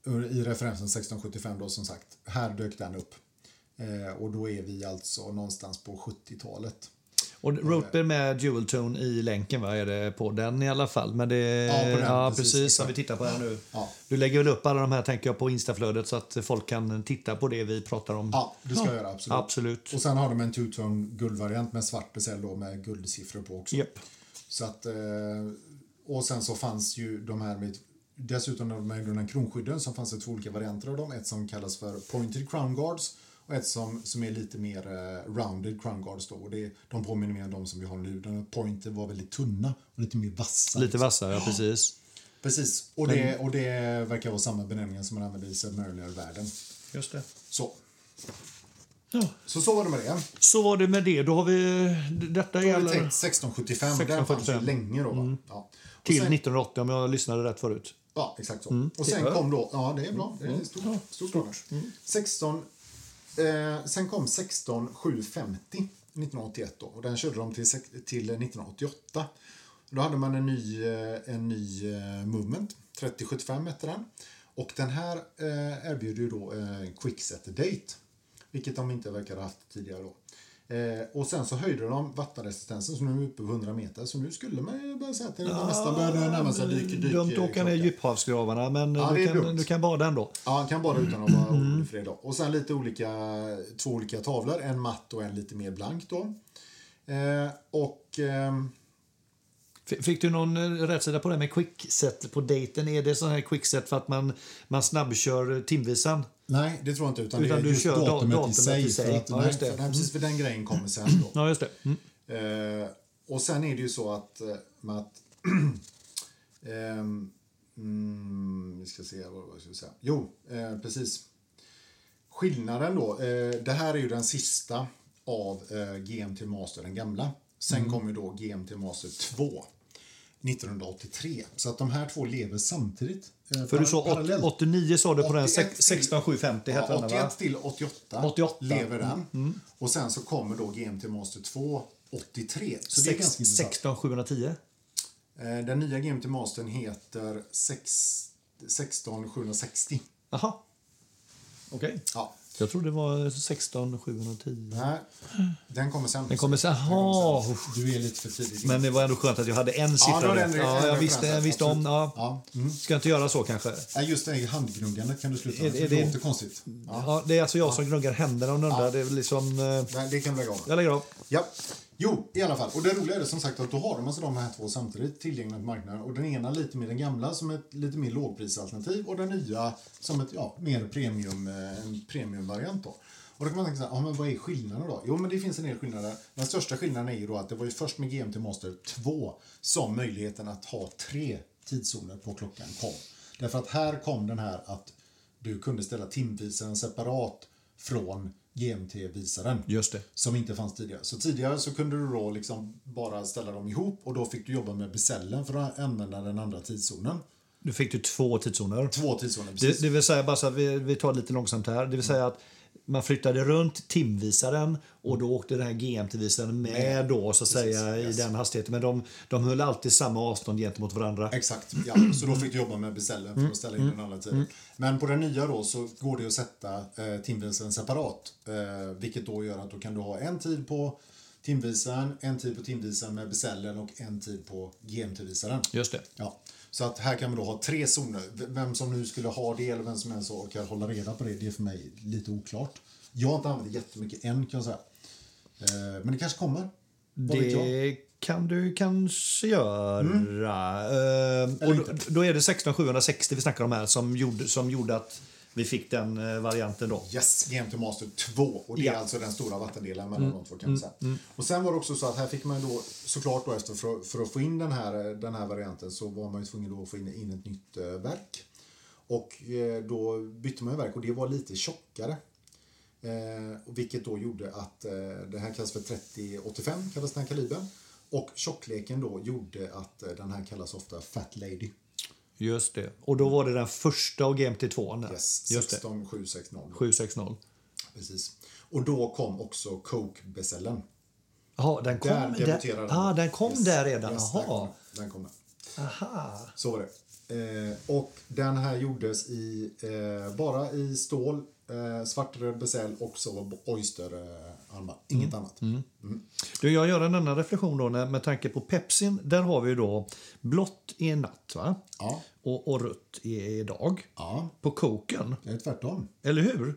Speaker 1: Ur- i referensen 1675 då som sagt. Här dök den upp. Eh, och då är vi alltså någonstans på 70-talet.
Speaker 2: Och Roper med dual tone i länken, va? Är det på den i alla fall? Men det,
Speaker 1: Ja, på den,
Speaker 2: ja,
Speaker 1: precis,
Speaker 2: precis.
Speaker 1: exakt.
Speaker 2: Som vi tittar på här nu.
Speaker 1: Ja.
Speaker 2: Du lägger väl upp alla de här tänker jag på Instaflödet så att folk kan titta på det vi pratar om.
Speaker 1: Ja, det ska jag göra absolut.
Speaker 2: Absolut.
Speaker 1: Och sen har de en two-tone guldvariant med svart bezel då med guldsiffror på också.
Speaker 2: Japp.
Speaker 1: Så att, eh, och sen så fanns ju de här med dessutom de här gröna kronskydden som fanns det två olika varianter av dem. Ett som kallas för pointed crown guards och ett som, som är lite mer eh, rounded crown guards då. Och det, de påminner mer om de som vi har nu. De pointed var väldigt tunna och lite mer vassa.
Speaker 2: Lite vassare, ja, precis.
Speaker 1: Precis, och det, och det verkar vara samma benämning som man använde i Submariner-världen.
Speaker 2: Just det.
Speaker 1: Så.
Speaker 2: Ja.
Speaker 1: så så var det med det.
Speaker 2: Så var det med det. Då har vi... Detta
Speaker 1: Jag
Speaker 2: är
Speaker 1: hade tänkt
Speaker 2: alla-
Speaker 1: 1675, 1675. den fanns ju
Speaker 2: 1675.
Speaker 1: länge då. Va? Ja. Och
Speaker 2: Mm. till
Speaker 1: sen-
Speaker 2: 1980 om jag lyssnade rätt förut.
Speaker 1: Ja, exakt så. och sen
Speaker 2: bra.
Speaker 1: kom då... Ja, det är bra. Det är stort. stort, stort. 16... Eh, sen kom 16750 1981 då, och den körde de till, sex- till 1988. Då hade man en ny, eh, en ny eh, Movement, 3075 hette den. Och den här eh, erbjöd ju då eh, Quickset Date, vilket de inte verkar ha haft tidigare då. Eh, och sen så höjde de vattenresistensen så nu är vi uppe på 100 meter så nu skulle man ju börja säga att det nästan börjar närma sig dyk, dyk,
Speaker 2: Dumt att åka ner i
Speaker 1: klockan.
Speaker 2: djuphavsgravarna, men
Speaker 1: eh,
Speaker 2: eh,
Speaker 1: Ja, det
Speaker 2: du,
Speaker 1: är
Speaker 2: kan,
Speaker 1: dumt.
Speaker 2: du kan bada ändå.
Speaker 1: Ja, han kan bada utan att vara
Speaker 2: Mm.
Speaker 1: orolig för det då. Och sen lite olika, två olika tavlor, en matt och en lite mer blank då. Eh, och ehm,
Speaker 2: F- Fick du någon eh, rätsida på det här med quickset på dejten? Är det sån här quickset för att man, man snabbkör eh, timvisan?
Speaker 1: nej, det tror jag inte utan,
Speaker 2: Utan
Speaker 1: det är
Speaker 2: du
Speaker 1: just
Speaker 2: kör da-
Speaker 1: datumet, i
Speaker 2: datumet
Speaker 1: sig.
Speaker 2: i sig.
Speaker 1: För att,
Speaker 2: Ja,
Speaker 1: nej,
Speaker 2: just det. Mm.
Speaker 1: För, nej, precis för den grejen kommer sen då.
Speaker 2: Ja, just det. Mm.
Speaker 1: Eh, och sen är det ju så att... eh, Med att ehm, mm, vi ska se vad, vad ska vi säga. Jo, eh, precis. Skillnaden då. Eh, det här är ju den sista av eh, GMT Master, den gamla. Sen
Speaker 2: Mm.
Speaker 1: kommer ju då GMT Master 2. 1983. Så att de här två lever samtidigt. eh,
Speaker 2: För du
Speaker 1: par-
Speaker 2: sa åt-
Speaker 1: parallellt.
Speaker 2: 89 sa du på den
Speaker 1: 81
Speaker 2: sex- 16750 hette
Speaker 1: Ja,
Speaker 2: den va? Mm,
Speaker 1: 81 till 88,
Speaker 2: 88.
Speaker 1: lever den. Och sen så kommer då GMT Master 2 83. Så det är
Speaker 2: Sex-
Speaker 1: ganska intressant.
Speaker 2: 16710.
Speaker 1: Eh, Den nya GMT Mastern heter sex- 16760.
Speaker 2: Jaha. Okej.
Speaker 1: Ja.
Speaker 2: Jag trodde det var eh, 16710.
Speaker 1: Nej, den kommer sen.
Speaker 2: Den kommer så här,
Speaker 1: kommer
Speaker 2: "Jaha."
Speaker 1: sen. Du är lite för tidig.
Speaker 2: Men det var ändå skönt att jag hade en
Speaker 1: det
Speaker 2: siffra
Speaker 1: var
Speaker 2: rätt.
Speaker 1: den-
Speaker 2: Ja,
Speaker 1: den
Speaker 2: jag
Speaker 1: referensen,
Speaker 2: visste, jag visste om.
Speaker 1: absolut.
Speaker 2: Ja. Ska inte göra så kanske?
Speaker 1: Mm. Nej, Just det, här handgnuggandet kan du sluta med.
Speaker 2: Är-
Speaker 1: för
Speaker 2: är
Speaker 1: Det
Speaker 2: det-
Speaker 1: låter konstigt.
Speaker 2: Ja. det är alltså jag som gnuggar händerna om du undrar. Det är väl liksom... eh,
Speaker 1: Nej, det kan vi lägga av.
Speaker 2: Jag lägger av.
Speaker 1: Ja. Jo, i alla fall. Och det roliga är det som sagt att då har de alltså de här två samtidigt tillgängliga på marknaden. Och den ena lite mer den gamla som ett lite mer lågprisalternativ och den nya som ett ja, mer premium, eh, en premiumvariant då. Och då kan man tänka så här, ja, men vad är skillnaden då? Jo, men det finns en del skillnader. Den största skillnaden är ju då att det var ju först med GMT Master 2 som möjligheten att ha tre tidszoner på klockan kom. Därför att här kom den här att du kunde ställa timvisaren separat från GMT-visaren
Speaker 2: Just det.
Speaker 1: som inte fanns tidigare. Så tidigare så kunde du då liksom bara ställa dem ihop och då fick du jobba med besällen för att använda den andra tidszonen.
Speaker 2: Nu fick du två tidszoner.
Speaker 1: Två tidszoner, precis.
Speaker 2: Det, det vill säga, bara så att vi, vi tar lite långsamt här. Det vill säga att man flyttade runt timvisaren och då åkte den här GMT-visaren med då så att säga
Speaker 1: yes.
Speaker 2: i den hastigheten. Men de, de höll alltid samma avstånd gentemot varandra.
Speaker 1: Exakt, ja. Så då fick du jobba med besällen för att ställa in den andra tiden. Men på den nya då så går det ju att sätta eh, timvisaren separat. Eh, vilket då gör att då kan du ha en tid på timvisaren, en tid på timvisaren med besällen och en tid på GMT-visaren.
Speaker 2: Just det.
Speaker 1: Ja. Så att här kan man då ha tre zoner. V- Vem som nu skulle ha det eller vem som ens orkar hålla reda på det, det är för mig lite oklart. Jag har inte använt det jättemycket än kan jag säga. Eh, Men det kanske kommer. Vad vet jag?
Speaker 2: Det kan du kanske göra. Ehm, och då, då är det 16760 vi snackar om här som gjorde, som gjorde att vi fick den eh, varianten då.
Speaker 1: Yes, GMT Master 2. Och det är
Speaker 2: Ja. Mm.
Speaker 1: alltså den stora vattendelen mellan de två kan man säga. Och sen var det också så att här fick man då såklart då efter för, för att få in den här, eh, den här varianten så var man ju tvungen då att få in, in ett nytt eh, verk. Och eh, då bytte man ju verk och det var lite tjockare. Eh, och vilket då gjorde att eh, det här kallas för 3085, kallas den här kalibern. Och tjockleken då gjorde att eh, den här kallas ofta Fat Lady.
Speaker 2: Just det. Och då var det den första och GMT2. där.
Speaker 1: Yes,
Speaker 2: Just det.
Speaker 1: 16760.
Speaker 2: 760.
Speaker 1: Precis. Och då kom också Coke-besällen.
Speaker 2: Jaha, den kom
Speaker 1: Där
Speaker 2: där,
Speaker 1: debuterade den.
Speaker 2: ah, den kom
Speaker 1: Yes,
Speaker 2: där redan.
Speaker 1: yes, där kom
Speaker 2: Jaha.
Speaker 1: den. Den kom där.
Speaker 2: Aha.
Speaker 1: Så var det. Eh, och den här gjordes i, eh, bara i stål, eh, svartröd besäll och så oysterarmband.
Speaker 2: Mm.
Speaker 1: Inget annat.
Speaker 2: Du, jag gör en annan reflektion då när, med tanke på Pepsin. Där har vi ju då blått i en natt va?
Speaker 1: Ja.
Speaker 2: Och, och rött i i dag.
Speaker 1: ja, Mm.
Speaker 2: På koken,
Speaker 1: det är tvärtom.
Speaker 2: eller hur?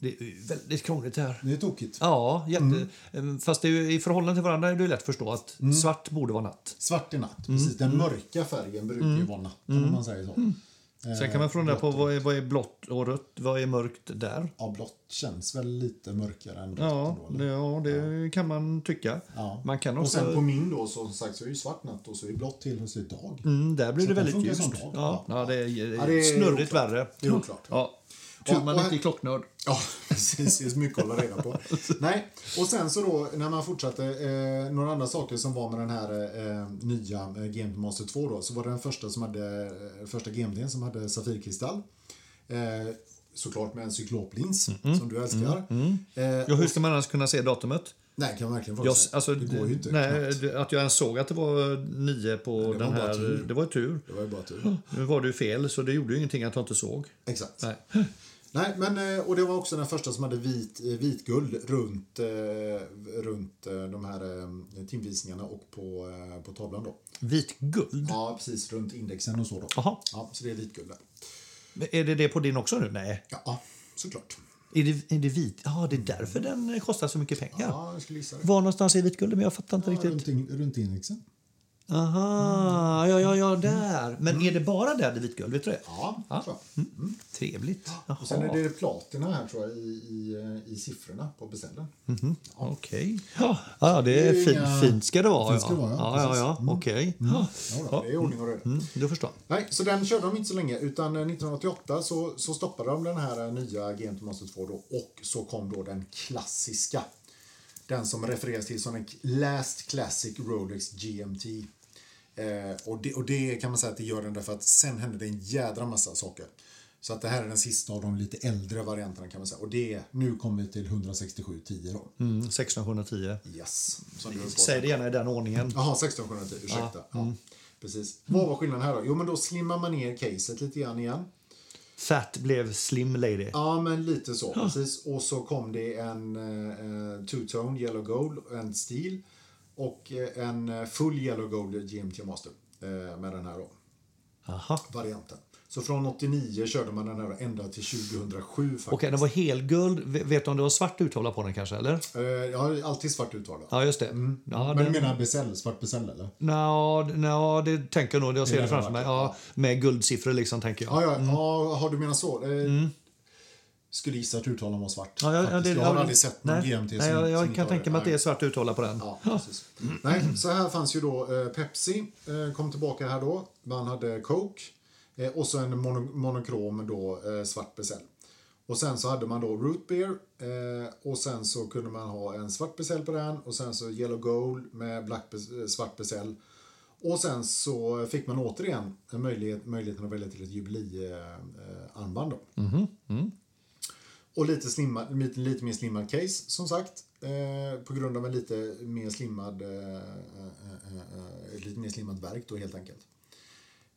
Speaker 2: Det är ju väldigt krångligt det här.
Speaker 1: Det är tokigt.
Speaker 2: Ja,
Speaker 1: Mm.
Speaker 2: jätte... Mm. fast det är ju, i förhållande till varandra är det ju lätt att förstå att svart borde vara natt.
Speaker 1: Svart i natt.
Speaker 2: Mm.
Speaker 1: Precis. Den mörka färgen brukar ju vara natten om man säger så.
Speaker 2: Sen kan man fundera
Speaker 1: Eh,
Speaker 2: på vad är, vad är blått och rött? Vad är mörkt där?
Speaker 1: Ja, blått känns väl lite mörkare än blått
Speaker 2: Ja,
Speaker 1: ändå,
Speaker 2: det,
Speaker 1: eller?
Speaker 2: ja, det kan man tycka.
Speaker 1: Ja.
Speaker 2: Man kan
Speaker 1: Och
Speaker 2: också...
Speaker 1: sen på min då, som sagt, så är det ju svart natt och så är det blått till och så är det dag.
Speaker 2: Mm, där blir
Speaker 1: Så
Speaker 2: det
Speaker 1: den
Speaker 2: väldigt
Speaker 1: funkar
Speaker 2: ljust.
Speaker 1: som dag.
Speaker 2: Ja, ja, det är,
Speaker 1: Ja, det är
Speaker 2: snurrigt
Speaker 1: oklart.
Speaker 2: värre.
Speaker 1: Det är oklart.
Speaker 2: Ja.
Speaker 1: Och-
Speaker 2: Tur
Speaker 1: och
Speaker 2: man
Speaker 1: här-
Speaker 2: inte är klocknörd.
Speaker 1: Ja, precis. Det är så mycket att hålla reda på. Nej, och sen så då när man fortsatte, eh, några andra saker som var med den här eh, nya eh, GMT Master 2 då, så var det den första som hade, eh, första GMT'n som hade safirkristall. Eh, såklart med en cykloplins,
Speaker 2: Mm,
Speaker 1: som du älskar. Eh,
Speaker 2: Ja, hur ska man annars kunna se datumet?
Speaker 1: nej, kan man verkligen fråga
Speaker 2: mm. Jag,
Speaker 1: sig.
Speaker 2: alltså,
Speaker 1: Det går ju inte.
Speaker 2: nej,
Speaker 1: knappt.
Speaker 2: det- att jag ens såg att det var nio på
Speaker 1: var
Speaker 2: den
Speaker 1: bara
Speaker 2: här...
Speaker 1: tur.
Speaker 2: Det var ju tur.
Speaker 1: Det var ju bara tur.
Speaker 2: Nu var det ju fel, så det gjorde ju ingenting att jag inte såg.
Speaker 1: Exakt.
Speaker 2: Nej.
Speaker 1: Nej, men eh, och det var också den första som hade vit, eh, vitguld runt, eh, runt eh, de här eh, timvisningarna och på, eh, på tavlan då.
Speaker 2: Vitguld?
Speaker 1: Ja, precis. Runt indexen och så. Då.
Speaker 2: Jaha.
Speaker 1: Ja, så det är vitguld där.
Speaker 2: Är det det på din också nu? Nej.
Speaker 1: Ja, såklart.
Speaker 2: Är det, är det vit? Ja, det är därför den kostar så mycket pengar.
Speaker 1: Ja, jag skulle gissa det.
Speaker 2: Var någonstans är vitguldet? Men jag fattar inte
Speaker 1: Ja,
Speaker 2: riktigt.
Speaker 1: runt, in- runt indexen.
Speaker 2: Aha,
Speaker 1: Mm.
Speaker 2: ja, ja, ja, där. Men är det bara där det är vitguld? Vet du det?
Speaker 1: Ja,
Speaker 2: Ja.
Speaker 1: tror jag.
Speaker 2: Mm. Trevligt. Jaha.
Speaker 1: Och sen är det platina här tror jag i, i, eh, i siffrorna på beställaren.
Speaker 2: Mm. Okej. Ja, ja, det är
Speaker 1: Det är
Speaker 2: fin,
Speaker 1: inga-
Speaker 2: fint ska det vara.
Speaker 1: Fint ska
Speaker 2: ja.
Speaker 1: det vara, ja,
Speaker 2: ja, ja,
Speaker 1: precis. Mm.
Speaker 2: ja. Okej. Ja.
Speaker 1: Ja, då,
Speaker 2: Ja.
Speaker 1: det är ordning och reda.
Speaker 2: Mm, du förstår.
Speaker 1: Nej, så den körde de inte så länge utan eh, 1988 så, så stoppade de den här eh, nya GMT Master 2 då, och så kom då den klassiska. Den som refereras till som en k- Last Classic Rolex GMT. Eh, och, det, och det kan man säga att det gör den därför att sen hände det en jädra massa saker. Så att det här är den sista av de lite äldre varianterna kan man säga. Och det, nu kommer vi till 16710 då.
Speaker 2: Mm, 1610.
Speaker 1: Yes. Som du har fått.
Speaker 2: Säg det gärna i den ordningen.
Speaker 1: Jaha, 1610, ursäkta. Ja.
Speaker 2: mm.
Speaker 1: Precis. Vad var skillnaden här då? Jo, men då slimmar man ner caset lite grann igen.
Speaker 2: Fat blev slim lady.
Speaker 1: Ja, men lite så. Precis. Och så kom det en eh, eh, two-tone yellow gold, en stil och eh, en eh, full yellow gold GMT Master eh, med den här då,
Speaker 2: Aha.
Speaker 1: varianten. Så från 89 körde man den här ända till 2007 faktiskt.
Speaker 2: Okej, den var helguld. V- Vet du om det var svart urtavla på den kanske, eller?
Speaker 1: Eh, jag har alltid svart uttal.
Speaker 2: Ja, just det. Ja,
Speaker 1: Mm. Men du
Speaker 2: den...
Speaker 1: menar besäll, svart besäll eller?
Speaker 2: Nå, nå, det tänker jag nog. Jag ser
Speaker 1: Det
Speaker 2: det
Speaker 1: är
Speaker 2: framför
Speaker 1: den
Speaker 2: mig.
Speaker 1: vackra.
Speaker 2: Ja, med guldsiffror liksom, tänker jag.
Speaker 1: Ja, ja, ja har du menat så? Eh, Skulle gissa att uttalet var svart.
Speaker 2: Mm. Ja, ja, ja,
Speaker 1: faktiskt.
Speaker 2: det-
Speaker 1: jag har
Speaker 2: ja,
Speaker 1: aldrig sett någon
Speaker 2: nej,
Speaker 1: GMT som,
Speaker 2: Nej, jag,
Speaker 1: som
Speaker 2: jag
Speaker 1: inte
Speaker 2: kan
Speaker 1: har
Speaker 2: tänka mig att det
Speaker 1: Nej.
Speaker 2: är svart urtavla på den.
Speaker 1: Ja, precis. Nej, så här fanns ju då eh, Pepsi, eh, kom tillbaka här då. Man hade Coke eh, och så en mono, monokrom då, eh, svart besäll. Och sen så hade man då Root Beer eh, och sen så kunde man ha en svart besäll på den och sen så Yellow Gold med black, bes- eh, svart besäll. Och sen så fick man återigen en möjlighet, möjligheten att välja till ett jubileearmband. då. Och lite, slimma, lite, lite mer slimmad case, som sagt. Eh, på grund av en lite mer slimmad, eh, eh, eh, eh, lite mer slimmad verk då helt enkelt.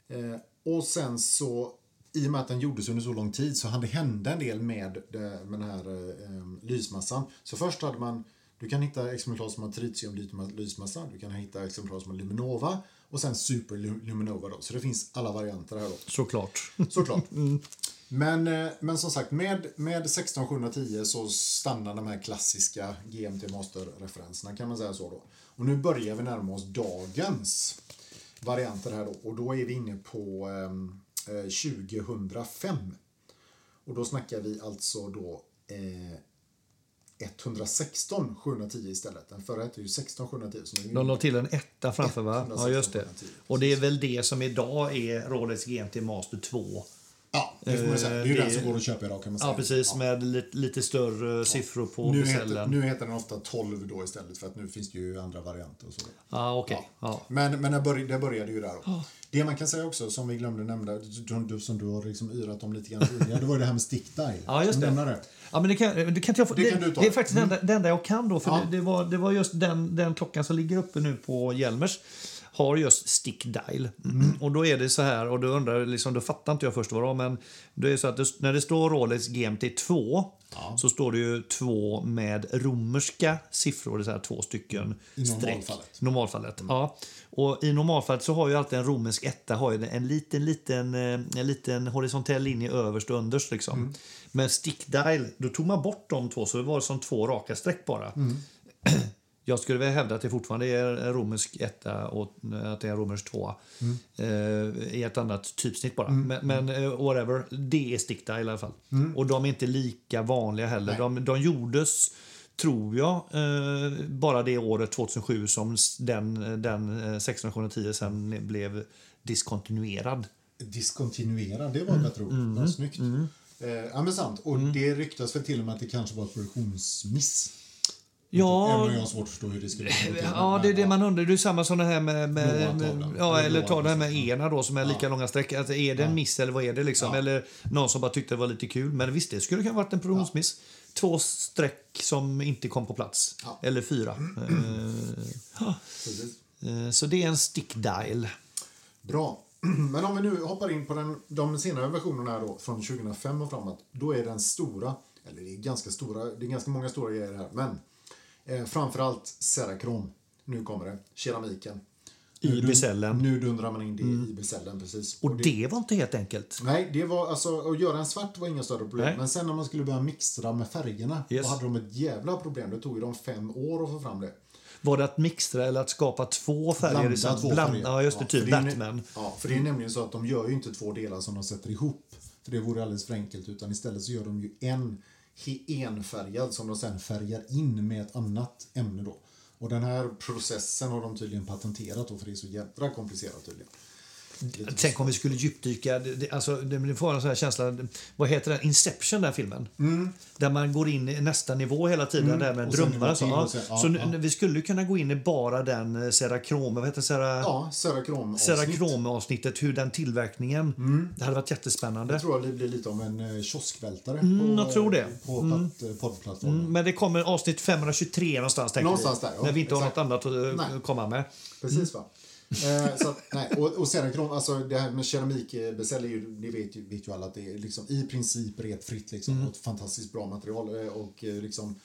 Speaker 1: Eh, och sen så, i och med att den gjordes under så lång tid så hade hände en del med, eh, med den här eh, eh, lysmassan. Så först hade man, du kan hitta exemplar som har tritium lytma- lysmassa, du kan hitta exemplar som har luminova och sen super lu- luminova då. Så det finns alla varianter här då.
Speaker 2: Såklart.
Speaker 1: Såklart.
Speaker 2: Mm.
Speaker 1: Men, eh, men som sagt, med, med 16710 så stannar de här klassiska GMT Master-referenserna kan man säga så då. Och nu börjar vi närma oss dagens varianter här då. Och då är vi inne på eh, eh, 2005. Och då snackar vi alltså då eh, 116 710 istället. Den förra hette ju 16 710. Så nu är vi
Speaker 2: De la till en etta framför, va? Ja, just det.
Speaker 1: 116,10,
Speaker 2: Och det är väl det som idag är Rolex GMT Master 2
Speaker 1: Ja, det får man ju säga. Det är ju
Speaker 2: Eh,
Speaker 1: den
Speaker 2: det-
Speaker 1: som går att köpa idag kan man säga.
Speaker 2: Ja, precis. Med lite, lite större siffror på
Speaker 1: Nu heter,
Speaker 2: cellen.
Speaker 1: nu heter den ofta 12 då istället för att nu finns det ju andra varianter och så.
Speaker 2: Ja, okej. Ja.
Speaker 1: Men, men det, började, det började ju där. då. Det man kan säga också, som vi glömde nämna, som du, som du har liksom yrat om lite grann tidigare, det var ju det här med stick dial.
Speaker 2: Ja,
Speaker 1: Ska
Speaker 2: just
Speaker 1: vi
Speaker 2: det.
Speaker 1: nämna det.
Speaker 2: Ja, men det, kan, eh, det, kan inte jag få,
Speaker 1: Det
Speaker 2: det,
Speaker 1: kan du ta. Mm.
Speaker 2: det är faktiskt det, enda, det enda jag kan då. För
Speaker 1: Ja.
Speaker 2: det, det, var, det var just den, den klockan som ligger uppe nu på Hjelmers. Har just stick dial.
Speaker 1: Mm.
Speaker 2: Och då är det så här, och då undrar jag liksom, då fattar inte jag först vad det var. Men det är så att det, när det står Rolex GMT 2 så står det ju 2 med romerska siffror. Det är så här två stycken
Speaker 1: I
Speaker 2: streck.
Speaker 1: normalfallet. Mm.
Speaker 2: Normalfallet, ja. Och I normalfallet så har ju alltid en romersk etta har ju en liten, liten, eh, en liten horisontell linje överst och underst. Liksom.
Speaker 1: Mm.
Speaker 2: Men stickdial, då tog man bort de två så det var som två raka streck bara.
Speaker 1: Mm.
Speaker 2: Jag skulle väl hävda att det fortfarande är en romersk etta och att det är en romersk tvåa eh, i ett annat typsnitt bara. Men, men eh, whatever, det är stickdial i alla fall. Och de är inte lika vanliga heller. De, de gjordes tror jag, eh, bara det året 2007 som s- den, den eh, 1610 sen blev diskontinuerad.
Speaker 1: Diskontinuera, det
Speaker 2: Mm.
Speaker 1: var ett bättre ord. Vad snyggt. Eh, ja, men sant. Och det ryktas väl till och med att det kanske var ett produktionsmiss. Även
Speaker 2: Ja,
Speaker 1: om jag har svårt att förstå hur det skulle kunna gå till.
Speaker 2: ja, det är det man undrar. Det är samma som det här med... med,
Speaker 1: Blåa
Speaker 2: med
Speaker 1: tavlan.
Speaker 2: ja, eller
Speaker 1: Blåa
Speaker 2: ta det här med ena då som är lika långa streck. Alltså, är det en miss eller vad är det liksom? Eller någon som bara tyckte det var lite kul. Men visst, det skulle kunna ha varit en produktionsmiss. Två streck som inte kom på plats.
Speaker 1: Ja.
Speaker 2: Eller fyra. Eh, ja.
Speaker 1: Precis.
Speaker 2: Eh, Så det är en stick dial.
Speaker 1: Bra. Men om vi nu hoppar in på den, de senare versionerna här då, från 2005 och framåt. Då är den stora, eller det är ganska stora, det är ganska många stora grejer här. Men eh, framförallt Cerakrom. Nu kommer det. Keramiken.
Speaker 2: I
Speaker 1: Nu dun-
Speaker 2: bisellen.
Speaker 1: Nu dundrar man in det i bisellen, precis.
Speaker 2: Mm. Och det var inte helt enkelt.
Speaker 1: Nej, det var alltså, att göra en svart var inga större problem.
Speaker 2: Nej.
Speaker 1: Men sen när man skulle börja mixtra med färgerna,
Speaker 2: Yes.
Speaker 1: då hade de ett jävla problem. Det tog ju dem fem år att få fram det.
Speaker 2: Var det att mixtra eller att skapa två färger? i
Speaker 1: Blanda
Speaker 2: sam-
Speaker 1: två
Speaker 2: bland-
Speaker 1: färger.
Speaker 2: Ja, just det.
Speaker 1: för
Speaker 2: typ
Speaker 1: det är ju-
Speaker 2: Batman.
Speaker 1: Ja, för det är nämligen så att de gör ju inte två delar som de sätter ihop. För det vore alldeles för enkelt. Utan istället så gör de ju en he- enfärgad som de sen färgar in med ett annat ämne då. Och den här processen har de tydligen patenterat då för det är så jädra komplicerat tydligen.
Speaker 2: Tänk om vi skulle djupdyka. Det, det, alltså, det det får en sån här känsla. Vad heter den? Inception, den här filmen. Där man går in i nästa nivå hela tiden. Där med
Speaker 1: Mm. och sen
Speaker 2: drömmar och så.
Speaker 1: en gång
Speaker 2: Ja.
Speaker 1: till och sen- ja,
Speaker 2: så nu,
Speaker 1: ja.
Speaker 2: vi skulle ju kunna gå in i bara den eh, Cerakrom... Vad heter det? Cera,
Speaker 1: Ja, Cerakrom
Speaker 2: Cerakrom-avsnittet. Hur den tillverkningen.
Speaker 1: Mm.
Speaker 2: Det hade varit jättespännande.
Speaker 1: Jag tror att det blir lite om en eh, kioskvältare på, eh,
Speaker 2: jag tror det.
Speaker 1: på pat- poddplattformen.
Speaker 2: Men det kommer avsnitt 523 någonstans. tänker vi.
Speaker 1: Någonstans där, ja,
Speaker 2: när vi inte
Speaker 1: exakt.
Speaker 2: har något annat att eh,
Speaker 1: Nej.
Speaker 2: komma med. Mm.
Speaker 1: Precis va? Eh, så, att- nej, och, och cerakrom, alltså det här med keramikbesäll är ju, ni vet, ju- vet ju alla att det är liksom i princip retfritt liksom
Speaker 2: Mm.
Speaker 1: och ett fantastiskt bra material eh, och eh, liksom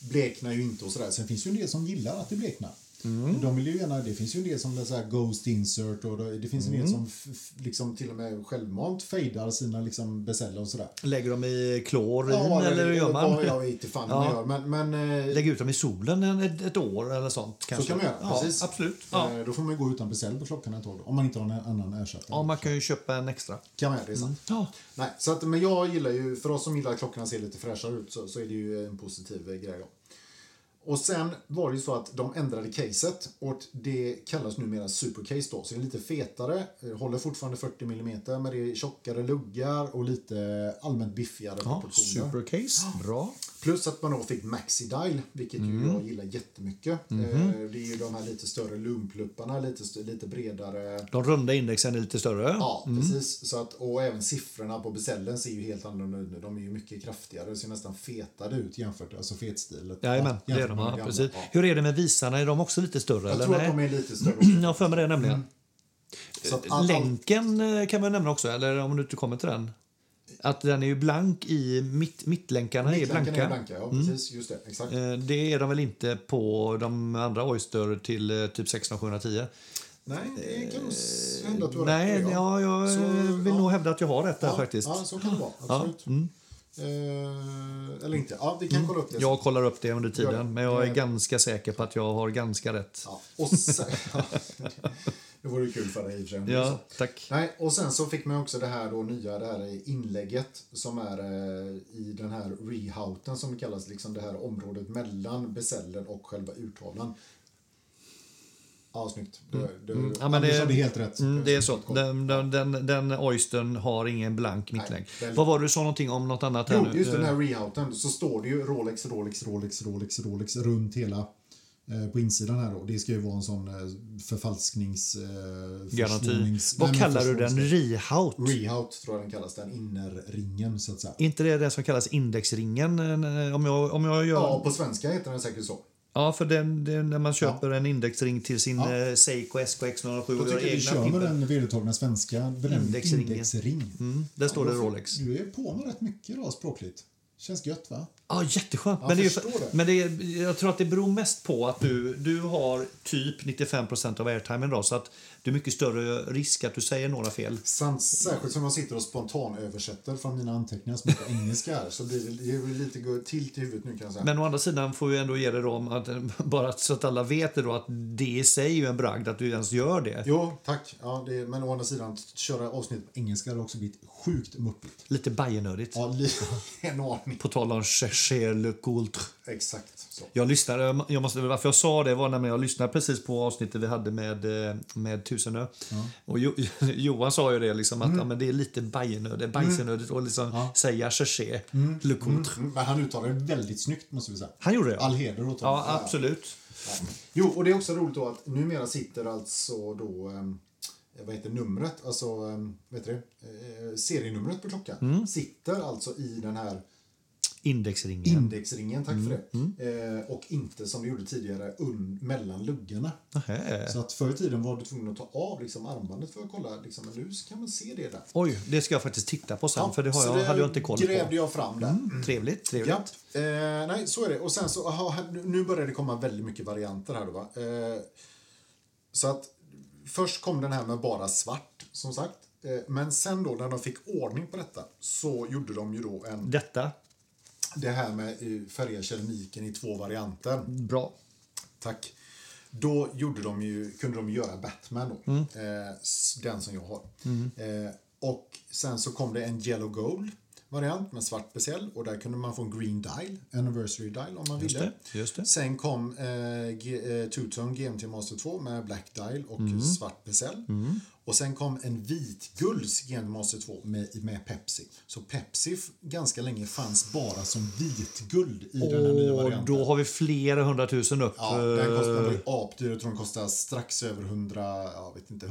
Speaker 1: bleknar ju inte och sådär. Sen finns ju en del som gillar att det bleknar.
Speaker 2: Mm.
Speaker 1: De vill ju gärna, det finns ju en del som läser Ghost Insert och det, det finns en
Speaker 2: Mm.
Speaker 1: del som f, f, liksom till och med självmant fejdar sina liksom besäll och sådär.
Speaker 2: Lägger dem i klorin eller hur gör
Speaker 1: vad-
Speaker 2: man?
Speaker 1: Jag vet inte fan hur man
Speaker 2: Ja.
Speaker 1: gör, men, men eh,
Speaker 2: Lägga ut dem i solen en- ett, ett år eller sånt. Kanske.
Speaker 1: så kan man göra.
Speaker 2: Ja,
Speaker 1: precis.
Speaker 2: absolut. Ja.
Speaker 1: Eh, Då får man ju gå utan besäll på klockan ett tag, om man inte har någon annan ersättare.
Speaker 2: Ja, Mm. man kan ju köpa en extra.
Speaker 1: Kan man göra, det är sant.
Speaker 2: Ja.
Speaker 1: Nej, så att, men jag gillar ju, för oss som gillar att klockorna ser lite fräschare ut så, så är det ju en positiv eh, grej. Då. Och sen var det ju så att de ändrade caset och det kallas numera supercase då. Så det är lite fetare, eh, håller fortfarande 40 mm men det är tjockare luggar och lite allmänt biffigare proportioner.
Speaker 2: Supercase. Bra.
Speaker 1: Plus att man då fick Maxi-Dial, vilket
Speaker 2: Mm.
Speaker 1: ju jag gillar jättemycket.
Speaker 2: Mhm.
Speaker 1: Eh, Det är ju de här lite större lumplupparna, lite, st- lite bredare.
Speaker 2: De runda indexen är lite större.
Speaker 1: Ja, precis. Så att, och även siffrorna på besällen ser ju helt annorlunda ut nu. De är ju mycket kraftigare och ser nästan fetare ut jämfört alltså fetstilet.
Speaker 2: Jajamän, det är
Speaker 1: jämfört
Speaker 2: de.
Speaker 1: med
Speaker 2: Ja,
Speaker 1: gamla.
Speaker 2: precis.
Speaker 1: Ja.
Speaker 2: Hur är det med visarna? Är de också lite större?
Speaker 1: Jag
Speaker 2: eller?
Speaker 1: tror
Speaker 2: Nej? Mm.
Speaker 1: att de är Mm. lite större också.
Speaker 2: Jag har för mig det nämligen.
Speaker 1: Så att all, all,
Speaker 2: Länken eh, kan man nämna också, eller om du inte kommer till den. Att den är ju blank i mitt, mittlänkarna. är
Speaker 1: blanka.
Speaker 2: blanka. Mm.
Speaker 1: Är blanka. Ja, precis. Just det. Exakt.
Speaker 2: Eh, Det är de väl inte på de andra Oyster till eh, typ 1610?
Speaker 1: Nej, det kan nog s- hända att du har
Speaker 2: eh, Nej,
Speaker 1: rätt på det,
Speaker 2: ja, jag
Speaker 1: Så,
Speaker 2: eh, vill
Speaker 1: ja.
Speaker 2: nog hävda att jag har rätt där
Speaker 1: ja,
Speaker 2: faktiskt. mm.
Speaker 1: Ja, så kan det vara. Absolut. Eh, eller inte. Ja, vi kan kolla upp det.
Speaker 2: Jag kollar upp det under
Speaker 1: Gör det.
Speaker 2: tiden, men jag
Speaker 1: Eh.
Speaker 2: är ganska säker på att jag har ganska rätt.
Speaker 1: Ja, och sen, det vore ju kul för dig i och för sig om det är så.
Speaker 2: Ja, tack.
Speaker 1: Nej, och sen så fick man också det här då nya, det här inlägget som är eh, i den här rehouten som det kallas, liksom det här området mellan besällen och själva urtavlan. Ja, snyggt. Du, du,
Speaker 2: Mm. Ja, men
Speaker 1: Anders
Speaker 2: det-
Speaker 1: hade helt rätt.
Speaker 2: Mm, det är så. Den, den, den, den oystern har ingen blank mittlängd.
Speaker 1: den-
Speaker 2: Vad var det du sa någonting om något annat här
Speaker 1: Jo,
Speaker 2: nu?
Speaker 1: just den
Speaker 2: Eh,
Speaker 1: här reouten så står det ju Rolex, Rolex, Rolex, Rolex, Rolex runt hela eh, på insidan här då. Det ska ju vara en sån eh, förfalsknings... Eh,
Speaker 2: Garanti.
Speaker 1: försvånings-
Speaker 2: Vad
Speaker 1: nej, men
Speaker 2: kallar du den?
Speaker 1: försvånings-
Speaker 2: Rehout?
Speaker 1: Reout tror jag den kallas, den innerringen så att säga.
Speaker 2: Är inte det den som kallas indexringen? eh, Om jag, om jag gör...
Speaker 1: Ja,
Speaker 2: Ja.
Speaker 1: på svenska heter den säkert så.
Speaker 2: för den, den, när man köper en indexring till sin
Speaker 1: Ja.
Speaker 2: eh, Seiko SKX007
Speaker 1: Då
Speaker 2: och gör
Speaker 1: tycker jag vi
Speaker 2: egna
Speaker 1: kör med
Speaker 2: pimpar.
Speaker 1: den vedertagna svenska benämningen
Speaker 2: Indexringen.
Speaker 1: indexring.
Speaker 2: Mm, där står det Rolex.
Speaker 1: Du är på med rätt mycket idag språkligt. Känns gött va?
Speaker 2: Ja, jätteskönt.
Speaker 1: Ja,
Speaker 2: men det är, ju-
Speaker 1: förstår det.
Speaker 2: men det är, jag tror att det beror mest på att du, du har typ 95 av airtime idag så att det är mycket större risk att du säger några fel.
Speaker 1: Sant, särskilt som jag sitter och spontanöversätter från mina anteckningar som är på engelska här. Så blir det, det blir lite gå- tilt i huvudet nu kan jag säga.
Speaker 2: Men å andra sidan får vi ändå ge det om att bara så att alla vet det då att det i sig är ju en bragd att du ens gör det.
Speaker 1: Jo, tack. Ja, det, men å andra sidan, att köra avsnitt på engelska hade också blivit sjukt muppigt.
Speaker 2: Lite bajenördigt.
Speaker 1: Ja, li- en aning.
Speaker 2: På tal om chercher le coultre.
Speaker 1: Exakt så.
Speaker 2: Jag lyssnade, jag måste, varför jag sa det var när jag lyssnade precis på avsnittet vi hade med, eh, med Tusenö. Och jo, Johan sa ju det liksom
Speaker 1: Mm.
Speaker 2: att ja, men det är lite bajenödigt, bajsenödigt och liksom säga cherché, le coultre.
Speaker 1: Mm, Men han uttalade det väldigt snyggt måste vi säga.
Speaker 2: Han gjorde det
Speaker 1: All heder åt honom.
Speaker 2: Ja, absolut.
Speaker 1: Jo, och det är också roligt då att numera sitter alltså då ehm, vad heter numret, alltså ehm, vad heter det? Eh, serienumret på klockan
Speaker 2: Mm.
Speaker 1: sitter alltså i den här
Speaker 2: Indexringen.
Speaker 1: indexringen, tack för det.
Speaker 2: Mm.
Speaker 1: Eh, och inte som vi gjorde tidigare un- mellan luggarna.
Speaker 2: Nähä.
Speaker 1: Så att förr i tiden var du tvungen att ta av liksom armbandet för att kolla, liksom, men nu så kan man se det där.
Speaker 2: Oj, det ska jag faktiskt titta på sen
Speaker 1: Ja,
Speaker 2: för det, har
Speaker 1: så
Speaker 2: jag, hade jag inte koll
Speaker 1: grävde
Speaker 2: på. Mm.
Speaker 1: jag fram där.
Speaker 2: Trevligt, trevligt.
Speaker 1: Ja, eh, nej, så är det. Och sen så, aha, här- nu börjar det komma väldigt mycket varianter här då va. Eh, så att först kom den här med bara svart, som sagt. Eh, men sen då när de fick ordning på detta så gjorde de ju då en,
Speaker 2: Detta,
Speaker 1: det här med eh, färga keramiken i två varianter.
Speaker 2: bra.
Speaker 1: Tack. Då gjorde de ju, kunde de göra Batman, då.
Speaker 2: Mm.
Speaker 1: Eh, s- den som jag har. Eh, och Sen så kom det en Yellow Gold variant med svart bezel och där kunde man få en green dial, anniversary dial om man ville.
Speaker 2: det, just det.
Speaker 1: Sen kom eh, G- eh, Two-Tone GMT Master 2 med black dial och
Speaker 2: Mm.
Speaker 1: svart bezel. Och sen kom en vitgulds GMT Master 2 med, med Pepsi. Så Pepsi f- ganska länge fanns bara som vitguld i den här nya
Speaker 2: Och
Speaker 1: varianten.
Speaker 2: då har vi flera hundratusen upp.
Speaker 1: Ja,
Speaker 2: eh,
Speaker 1: den kostar väl apdyr. Jag tror den kostar strax över 100, jag vet inte,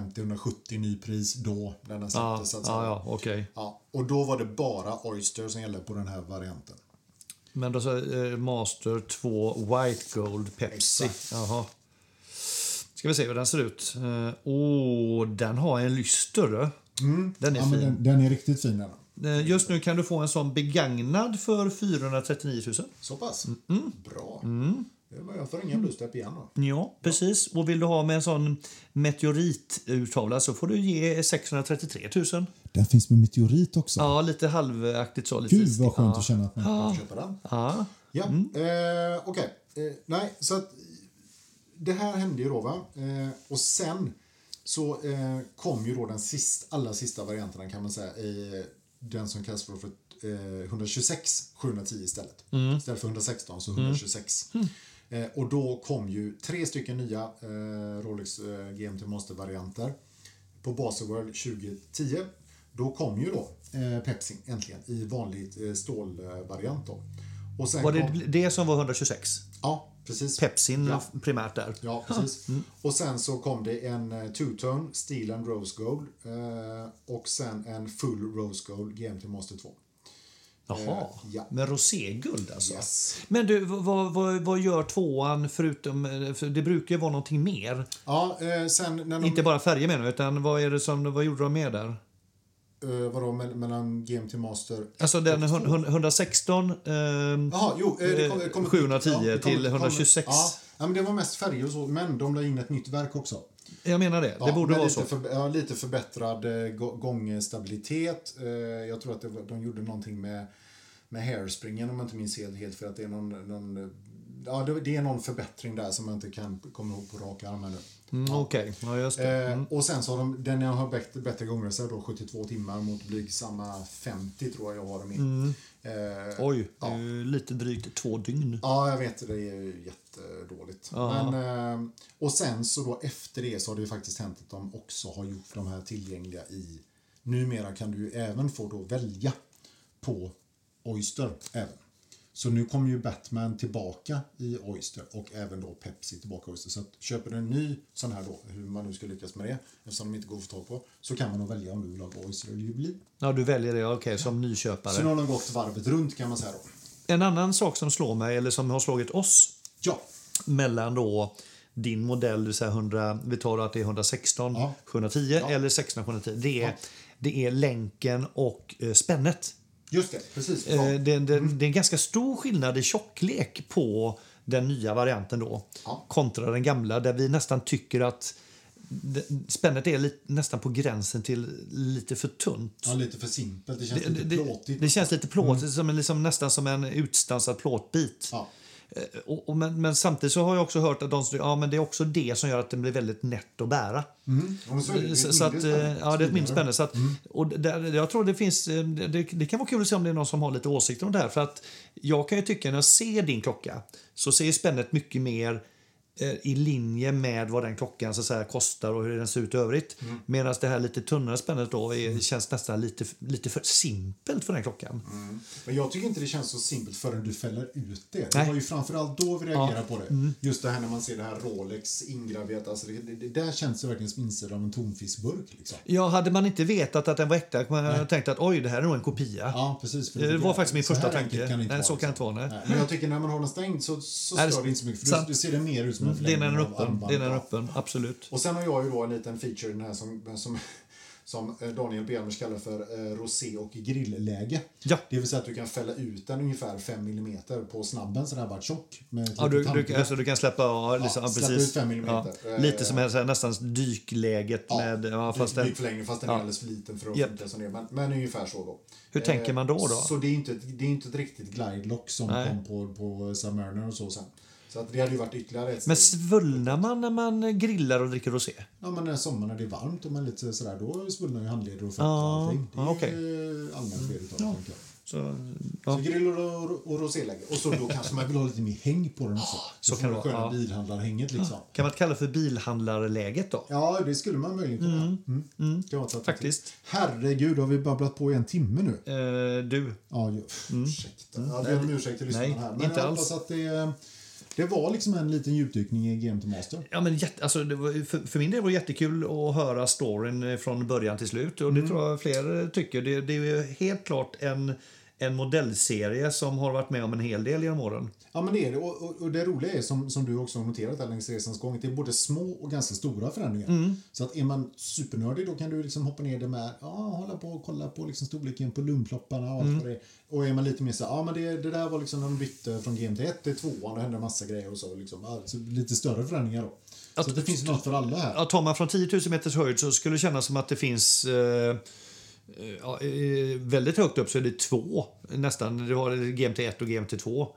Speaker 1: 150-170 nypris då när den
Speaker 2: ja,
Speaker 1: släpptes. så
Speaker 2: eh,
Speaker 1: att
Speaker 2: ja,
Speaker 1: säga.
Speaker 2: ja okej.
Speaker 1: Ja, och då var det bara Oyster som gällde på den här varianten.
Speaker 2: Men då så, eh, Master 2 White Gold Pepsi.
Speaker 1: Exakt.
Speaker 2: Jaha. Ska vi se hur den ser ut. Eh, Åh, den har en lyster. Den är
Speaker 1: Mm. Ja, men
Speaker 2: fin.
Speaker 1: den, den är riktigt fin. Den.
Speaker 2: Eh, Just nu kan du få en sån begagnad för 439 000.
Speaker 1: Så pass? Bra. Det var jag får ringa Bluestep igen då.
Speaker 2: Ja, precis. Och vill du ha med en sån meteoriturtavla så får du ge 633 000.
Speaker 1: Den finns med meteorit också.
Speaker 2: Ja, lite halvaktigt så. Lite
Speaker 1: Gud vad skönt att känna att man
Speaker 2: Ja.
Speaker 1: kan köpa den.
Speaker 2: Ja.
Speaker 1: Ja, eh, okej. Eh, nej, så att det här hände ju då va. Eh, och sen så eh, kom ju då den sist, allra sista varianten kan man säga. Eh, den som kallas för, för eh, 126 710 istället.
Speaker 2: Mm.
Speaker 1: Istället för 116 så 126. Eh, och då kom ju tre stycken nya eh, Rolex eh, GMT Master-varianter på Baselworld 2010. Då kom ju då eh, Pepsi äntligen i vanlig eh, stålvariant då. Och sen
Speaker 2: Var
Speaker 1: kom-
Speaker 2: det det som var 126?
Speaker 1: Ja, precis.
Speaker 2: Pepsin
Speaker 1: Ja.
Speaker 2: primärt där.
Speaker 1: Ja, precis. Och sen så kom det en eh, two-tone Steel and Rose Gold eh, och sen en full Rose Gold GMT Master 2.
Speaker 2: Jaha.
Speaker 1: Eh, ja.
Speaker 2: Med roséguld alltså.
Speaker 1: Yes.
Speaker 2: Men du, vad, vad, vad gör tvåan förutom... eh, För det brukar ju vara någonting mer.
Speaker 1: Ja, eh, sen när de...
Speaker 2: Inte bara färger menar jag, utan vad, är det som, vad gjorde de mer där?
Speaker 1: Eh, vadå, me- mellan GMT Master...
Speaker 2: Alltså den hun- hun- 116... ehm,
Speaker 1: Jaha, jo. Eh, det kom, det kom ett nytt-
Speaker 2: 710
Speaker 1: ja, det kom-
Speaker 2: till
Speaker 1: det kom-
Speaker 2: 126.
Speaker 1: Ja, ja, men det var mest färger och så, men de la in ett nytt verk också.
Speaker 2: Jag menar det.
Speaker 1: Ja,
Speaker 2: det borde
Speaker 1: med
Speaker 2: vara
Speaker 1: lite
Speaker 2: så.
Speaker 1: För, ja, lite förbättrad eh, gå- gångstabilitet. Eh, jag tror att det, var- de gjorde någonting med, med hairspringen om jag inte minns helt, helt för att det är någon, någon eh, Ja, det, det är någon förbättring där som jag inte kan komma ihåg på rak arm här nu.
Speaker 2: Mm, Okej, ja, just det.
Speaker 1: Eh, och sen så har de, den jag har bättre, bättre gångreserv då, 72 timmar mot blygsamma 50 tror jag jag har dem i.
Speaker 2: Mm.
Speaker 1: Eh,
Speaker 2: Oj, det
Speaker 1: ja.
Speaker 2: är ju lite drygt två dygn.
Speaker 1: Ja, jag vet. Det är ju jättedåligt.
Speaker 2: Ja.
Speaker 1: Men, eh, och sen så då efter det så har det ju faktiskt hänt att de också har gjort de här tillgängliga i... Numera kan du ju även få då välja på Oyster även. Så nu kommer ju Batman tillbaka i Oyster och även då Pepsi tillbaka i Oyster. Så att köper du en ny sån här då, hur man nu ska lyckas med det, eftersom de inte går att få tag på, så kan man nog välja om du vill ha Oyster eller Jubilee.
Speaker 2: Ja, du väljer det, okej, som
Speaker 1: Så nu
Speaker 2: nyköpare.
Speaker 1: har de gått varvet runt kan man säga då.
Speaker 2: En annan sak som slår mig, eller som har slagit oss
Speaker 1: Ja,
Speaker 2: mellan då din modell, det vill säga 100, vi tar att det är 116
Speaker 1: Ja.
Speaker 2: 710
Speaker 1: Ja.
Speaker 2: eller 16 710. Det är,
Speaker 1: Ja.
Speaker 2: det är länken och eh, spännet.
Speaker 1: just det. Precis.
Speaker 2: Eh,
Speaker 1: Ja. Mm.
Speaker 2: det, det, det är en ganska stor skillnad i tjocklek på den nya varianten då
Speaker 1: Ja.
Speaker 2: kontra den gamla där vi nästan tycker att d- spännet är li, nästan på gränsen till lite för tunt.
Speaker 1: Ja, lite för simpelt. Det känns
Speaker 2: Det,
Speaker 1: lite
Speaker 2: det,
Speaker 1: plåtigt. Mm.
Speaker 2: det känns lite plåtigt, som en, liksom, nästan som en utstansad plåtbit.
Speaker 1: ja.
Speaker 2: Eh, Och, och, men, men samtidigt så har jag också hört att de som- ja, men det är också det som gör att den blir väldigt nätt att bära.
Speaker 1: Mm. Ja, men så är det. Det är Mm.
Speaker 2: Så,
Speaker 1: ett
Speaker 2: så att,
Speaker 1: mindre
Speaker 2: eh,
Speaker 1: spännande.
Speaker 2: ja, det är ett mindre spännande. Så att, och där, jag tror det finns, eh, det, det kan vara kul att se om det är någon som har lite åsikter om det här. För att jag kan ju tycka när jag ser din klocka så ser spännet mycket mer eh, i linje med vad den klockan så att säga, kostar och hur den ser ut i övrigt.
Speaker 1: Mm.
Speaker 2: Medan det här lite tunnare spännet då är, känns nästan lite, lite för simpelt för den klockan.
Speaker 1: Men jag tycker inte det känns så simpelt förrän du fäller ut det. Det
Speaker 2: Nej. Mm.
Speaker 1: var ju framförallt då vi reagerade på det. Just det här när man ser det här Rolex ingraverat. Alltså det, det, det där känns det verkligen som insidan av en tonfiskburk. Liksom.
Speaker 2: Ja, hade man inte vetat att den var äkta man hade tänkt att oj, det här är nog en kopia.
Speaker 1: Ja, precis. För
Speaker 2: Det var faktiskt min
Speaker 1: så här
Speaker 2: första
Speaker 1: enkelt
Speaker 2: tanke.
Speaker 1: Kan det inte
Speaker 2: Nej,
Speaker 1: vara,
Speaker 2: så kan det inte
Speaker 1: liksom.
Speaker 2: vara. Nej.
Speaker 1: Nej, Men jag tycker när man har den stängd så, så
Speaker 2: Nej, det-
Speaker 1: stör det inte så mycket. För
Speaker 2: sant.
Speaker 1: du, du ser det mer ut som en
Speaker 2: Det är när
Speaker 1: förlängning
Speaker 2: den är
Speaker 1: av
Speaker 2: öppen. Det
Speaker 1: armbandet.
Speaker 2: är när den är
Speaker 1: Ja.
Speaker 2: öppen. Absolut.
Speaker 1: Och sen har jag ju då en liten feature i den här som, som, som eh, Daniel Benmers kallar för eh, rosé och grillläge.
Speaker 2: Ja.
Speaker 1: Det vill säga att du kan fälla ut den ungefär 5 mm på snabben så den här bara tjock. Med ett
Speaker 2: Ja, du,
Speaker 1: litet
Speaker 2: du,
Speaker 1: handgrepp.
Speaker 2: alltså, du kan släppa ja, liksom, ja,
Speaker 1: släppa
Speaker 2: precis.
Speaker 1: ut fem millimeter.
Speaker 2: Ja,
Speaker 1: Eh,
Speaker 2: lite som här, så här, nästan dykläget.
Speaker 1: Ja,
Speaker 2: med, ja, fast
Speaker 1: det
Speaker 2: det,
Speaker 1: blir förlängning fast den är
Speaker 2: Ja.
Speaker 1: alldeles för liten för att
Speaker 2: Japp.
Speaker 1: funka som det är. Men, men ungefär så då. Eh,
Speaker 2: Hur tänker man då, då?
Speaker 1: Så det är ju inte, ett- det är inte ett riktigt glidelock som
Speaker 2: Nej.
Speaker 1: kom på, på Submariner och så sen. Så att det hade ju varit ytterligare ett
Speaker 2: men
Speaker 1: steg.
Speaker 2: svullnar man när man grillar och dricker rosé?
Speaker 1: Ja, men när sommaren när det är varmt och man är lite sådär, då svullnar ju handleder och fötter
Speaker 2: Ja,
Speaker 1: och allting. Det är
Speaker 2: ja,
Speaker 1: ju allmänt vedertaget. tänker jag.
Speaker 2: Så,
Speaker 1: Så
Speaker 2: ja.
Speaker 1: grill och, och rosélägg. Och så då kanske man vill ha lite mer häng på den också.
Speaker 2: så
Speaker 1: Du
Speaker 2: kan
Speaker 1: får
Speaker 2: det
Speaker 1: det
Speaker 2: vara,
Speaker 1: sköna
Speaker 2: ja.
Speaker 1: bilhandlarhänget liksom.
Speaker 2: Kan man kalla det för bilhandlarläget då?
Speaker 1: Ja, det skulle man möjligen kunna. Mm. Kan vara ett alternativ.
Speaker 2: Faktiskt.
Speaker 1: Herregud, har vi babblat på i en timme nu?
Speaker 2: Eh, du,
Speaker 1: Ja, ju, ursäkta. Ja, jag ber om ursäkt till lyssnarna
Speaker 2: Mm. Nej,
Speaker 1: här. Men
Speaker 2: inte
Speaker 1: jag
Speaker 2: alls.
Speaker 1: hoppas att det, eh, det var liksom en liten djupdykning i Game to Master.
Speaker 2: Ja, men jätte, alltså, det var, för, för min del var det jättekul att höra storyn eh, från början till slut. Och Det tror jag fler eh, tycker. Det, det är ju helt klart en, en modellserie som har varit med om en hel del genom åren.
Speaker 1: Ja, men det är det. Och, och, och det roliga är, som, som du också har noterat här längs resans gång, att det är både små och ganska stora förändringar.
Speaker 2: Mm.
Speaker 1: Så att är man supernördig då kan du liksom hoppa ner det med, ja, hålla på och kolla på liksom storleken på lumplopparna och allt
Speaker 2: Mm.
Speaker 1: vad det är. Och är man lite mer så här, ja men det, det där var liksom när de bytte från GM till 1 till 2 och det hände massa grejer och så liksom. Alltså, lite större förändringar då. så
Speaker 2: Att-
Speaker 1: att det finns något för alla här.
Speaker 2: Ja, tar man från 10 000 meters höjd så skulle det kännas som att det finns eh, eh, ja, eh, väldigt högt upp så är det två nästan. Du har GMT 1 och GMT 2.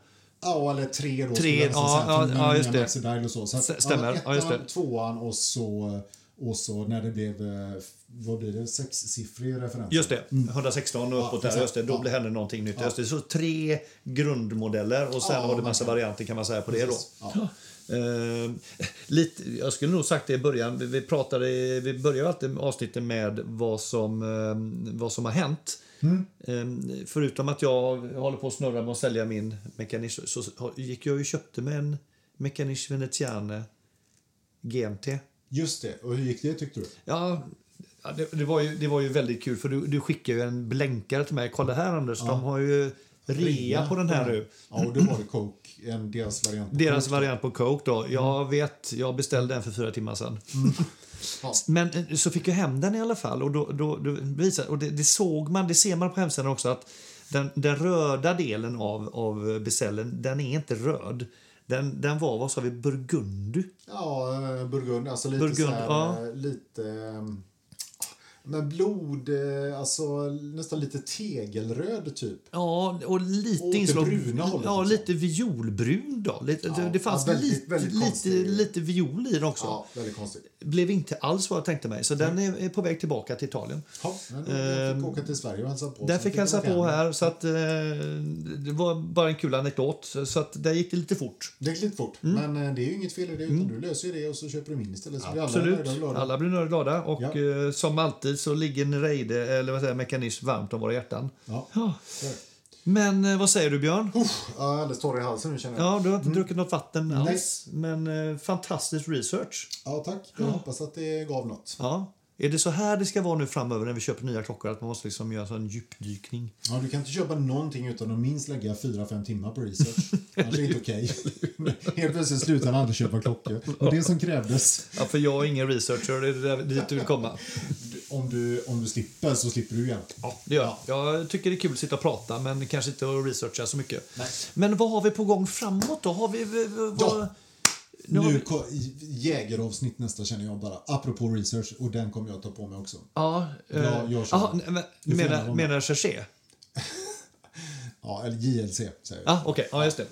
Speaker 1: Ja, eller tre då.
Speaker 2: Tre, ja, ja, ja, just det.
Speaker 1: Maxidile och så. så
Speaker 2: S- stämmer,
Speaker 1: Ja,
Speaker 2: ja, just det.
Speaker 1: ettan, tvåan och så, och så när det blev, eh, vad blir det, sexsiffrig referens.
Speaker 2: Just det, 116 och uppåt där.
Speaker 1: exakt.
Speaker 2: Just det, då
Speaker 1: Mm. Ja.
Speaker 2: blir hände någonting nytt. Just det, så tre grundmodeller och sen
Speaker 1: Ja,
Speaker 2: har du
Speaker 1: man
Speaker 2: massa
Speaker 1: kan.
Speaker 2: varianter kan man säga på det då.
Speaker 1: Precis, ja.
Speaker 2: Eh, lite, jag skulle nog sagt det i början. Vi, vi, pratade, vi börjar ju alltid med avsnittet med vad som, eh, vad som har hänt.
Speaker 1: Mm.
Speaker 2: Eh, förutom att jag håller på att snurra med att sälja min Mechanisch så så gick jag ju och köpte mig en Mechanisch Veneziane GMT.
Speaker 1: Just det. Och hur gick det tyckte du?
Speaker 2: Ja, ja, det, det, var ju, det var ju väldigt kul för du, du skickade ju en blänkare till mig. Kolla här Anders, de har ju rea på den här nu.
Speaker 1: Ja, och då var det Coke, en deras variant. på
Speaker 2: Deras
Speaker 1: Coke.
Speaker 2: variant på Coke då. Jag vet, jag beställde den för fyra timmar sedan.
Speaker 1: Ja.
Speaker 2: Men eh, så fick jag hem den i alla fall och, då, då, då visade, och det, det såg man, det ser man på hemsidan också att den, den röda delen av, av beställningen, den är inte röd. Den, den var, vad sa vi, burgundy?
Speaker 1: Ja, eh, Burgund. Alltså lite
Speaker 2: Burgund,
Speaker 1: så här,
Speaker 2: ja.
Speaker 1: eh, lite... eh, Men blod, eh, alltså nästan lite tegelröd typ.
Speaker 2: Ja, och lite
Speaker 1: Åt det
Speaker 2: inslag...
Speaker 1: bruna hållet,
Speaker 2: ja,
Speaker 1: liksom.
Speaker 2: lite violbrun då. Lite,
Speaker 1: Ja,
Speaker 2: det- det fanns
Speaker 1: ja, väldigt-
Speaker 2: lite,
Speaker 1: väldigt
Speaker 2: lite,
Speaker 1: konstig.
Speaker 2: lite viol i den också.
Speaker 1: Ja, Mm. väldigt konstigt.
Speaker 2: Blev inte alls vad jag tänkte mig, så den är, är på väg tillbaka till Italien.
Speaker 1: Ja, men jag fick åka till Sverige och hälsa på.
Speaker 2: Ehm, Där
Speaker 1: Så
Speaker 2: fick
Speaker 1: jag
Speaker 2: jag hälsa
Speaker 1: åka
Speaker 2: på
Speaker 1: hem.
Speaker 2: här, så att eh, det var bara en kul anekdot. Så att där gick det lite fort.
Speaker 1: Det gick lite fort,
Speaker 2: Mm.
Speaker 1: men eh, det är ju inget fel i det. Utan Du löser ju det och så köper du min istället. Så blir alla
Speaker 2: Absolut.
Speaker 1: nöjda och glada.
Speaker 2: Alla blir nöjda och glada. Och
Speaker 1: Ja.
Speaker 2: eh, som alltid så ligger en rejde, eller vad säger jag, mekanism varmt om våra hjärtan.
Speaker 1: Ja.
Speaker 2: Ja.
Speaker 1: Ja.
Speaker 2: Men eh, vad säger du, Björn?
Speaker 1: Uff, jag är alldeles torr i halsen nu känner jag. Ja,
Speaker 2: Ja, du har inte druckit något vatten alls. Men eh, fantastisk research.
Speaker 1: tack. Jag hoppas att det gav något.
Speaker 2: Ja. Är det så här det ska vara nu framöver när vi köper nya klockor? Att man måste liksom göra en sån djupdykning?
Speaker 1: Ja, du kan inte köpa någonting utan att minst lägga 4-5 timmar på research. Annars är det inte okej. Helt plötsligt slutar han aldrig köpa klockor. Och det som krävdes.
Speaker 2: Ja, för jag är ingen researcher, det är där- dit du vill komma.
Speaker 1: Om du, om du slipper så slipper du igen.
Speaker 2: Ja, det gör jag. Jag tycker det är kul att sitta och prata, men kanske inte att researcha så mycket. Men vad har vi på gång framåt då? Har vi... v- v-
Speaker 1: Ja.
Speaker 2: vad-
Speaker 1: Nu,
Speaker 2: Nu har vi...
Speaker 1: ko- jägaravsnitt nästa känner jag bara. Apropå research och den kommer jag ta på mig också.
Speaker 2: Ja, eh,
Speaker 1: Ja, jag kör.
Speaker 2: aha, nej, men,
Speaker 1: Du
Speaker 2: du
Speaker 1: får gärna vara
Speaker 2: menar,
Speaker 1: med.
Speaker 2: menar Cherché?
Speaker 1: Ja, eller JLC säger jag.
Speaker 2: Ja, Ah, Mm. okej. Ja, just det.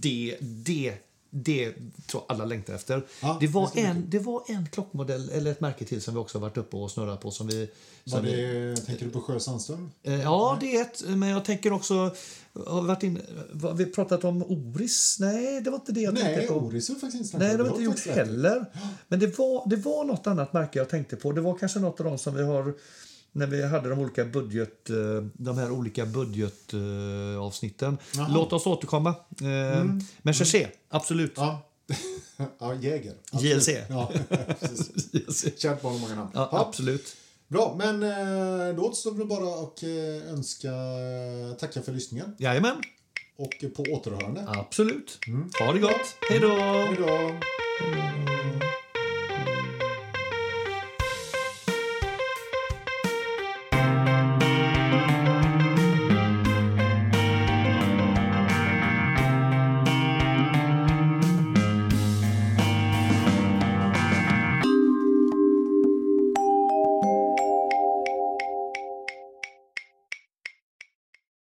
Speaker 2: Det, det, det tror jag alla längtar efter.
Speaker 1: Ja,
Speaker 2: det,
Speaker 1: det
Speaker 2: var
Speaker 1: ska bli
Speaker 2: en, det var en klockmodell, eller ett märke till, som vi också har varit uppe och snurrat på. Som vi,
Speaker 1: Var
Speaker 2: som vi,
Speaker 1: det, tänker du på Sjö Sandström?
Speaker 2: eh, ja, det är ett. Men jag tänker också... Har vi, varit in, har vi pratat om Oris? Nej, det var inte det jag tänkte
Speaker 1: Nej,
Speaker 2: på.
Speaker 1: Oris har faktiskt inte snackat
Speaker 2: Nej,
Speaker 1: om.
Speaker 2: det har
Speaker 1: Du
Speaker 2: vi inte
Speaker 1: har
Speaker 2: gjort
Speaker 1: faktiskt rätt.
Speaker 2: heller. Men det var, det var något annat märke jag tänkte på. Det var kanske något av de som vi har när vi hade de olika budget, eh, de här olika budgetavsnitten.
Speaker 1: Jaha. Mm.
Speaker 2: Låt oss återkomma. Eh, Men Cherché, absolut.
Speaker 1: Ja. ja, Jäger.
Speaker 2: JLC.
Speaker 1: Ja, precis. Kärt barn har många namn.
Speaker 2: Ja,
Speaker 1: Ja.
Speaker 2: absolt.
Speaker 1: Bra, men eh, då återstår väl bara och eh, önska tacka för lyssningen
Speaker 2: Jajamän,
Speaker 1: och på återhörande. Mm.
Speaker 2: absolut. Ha det gott. Hej då!
Speaker 1: Hej då!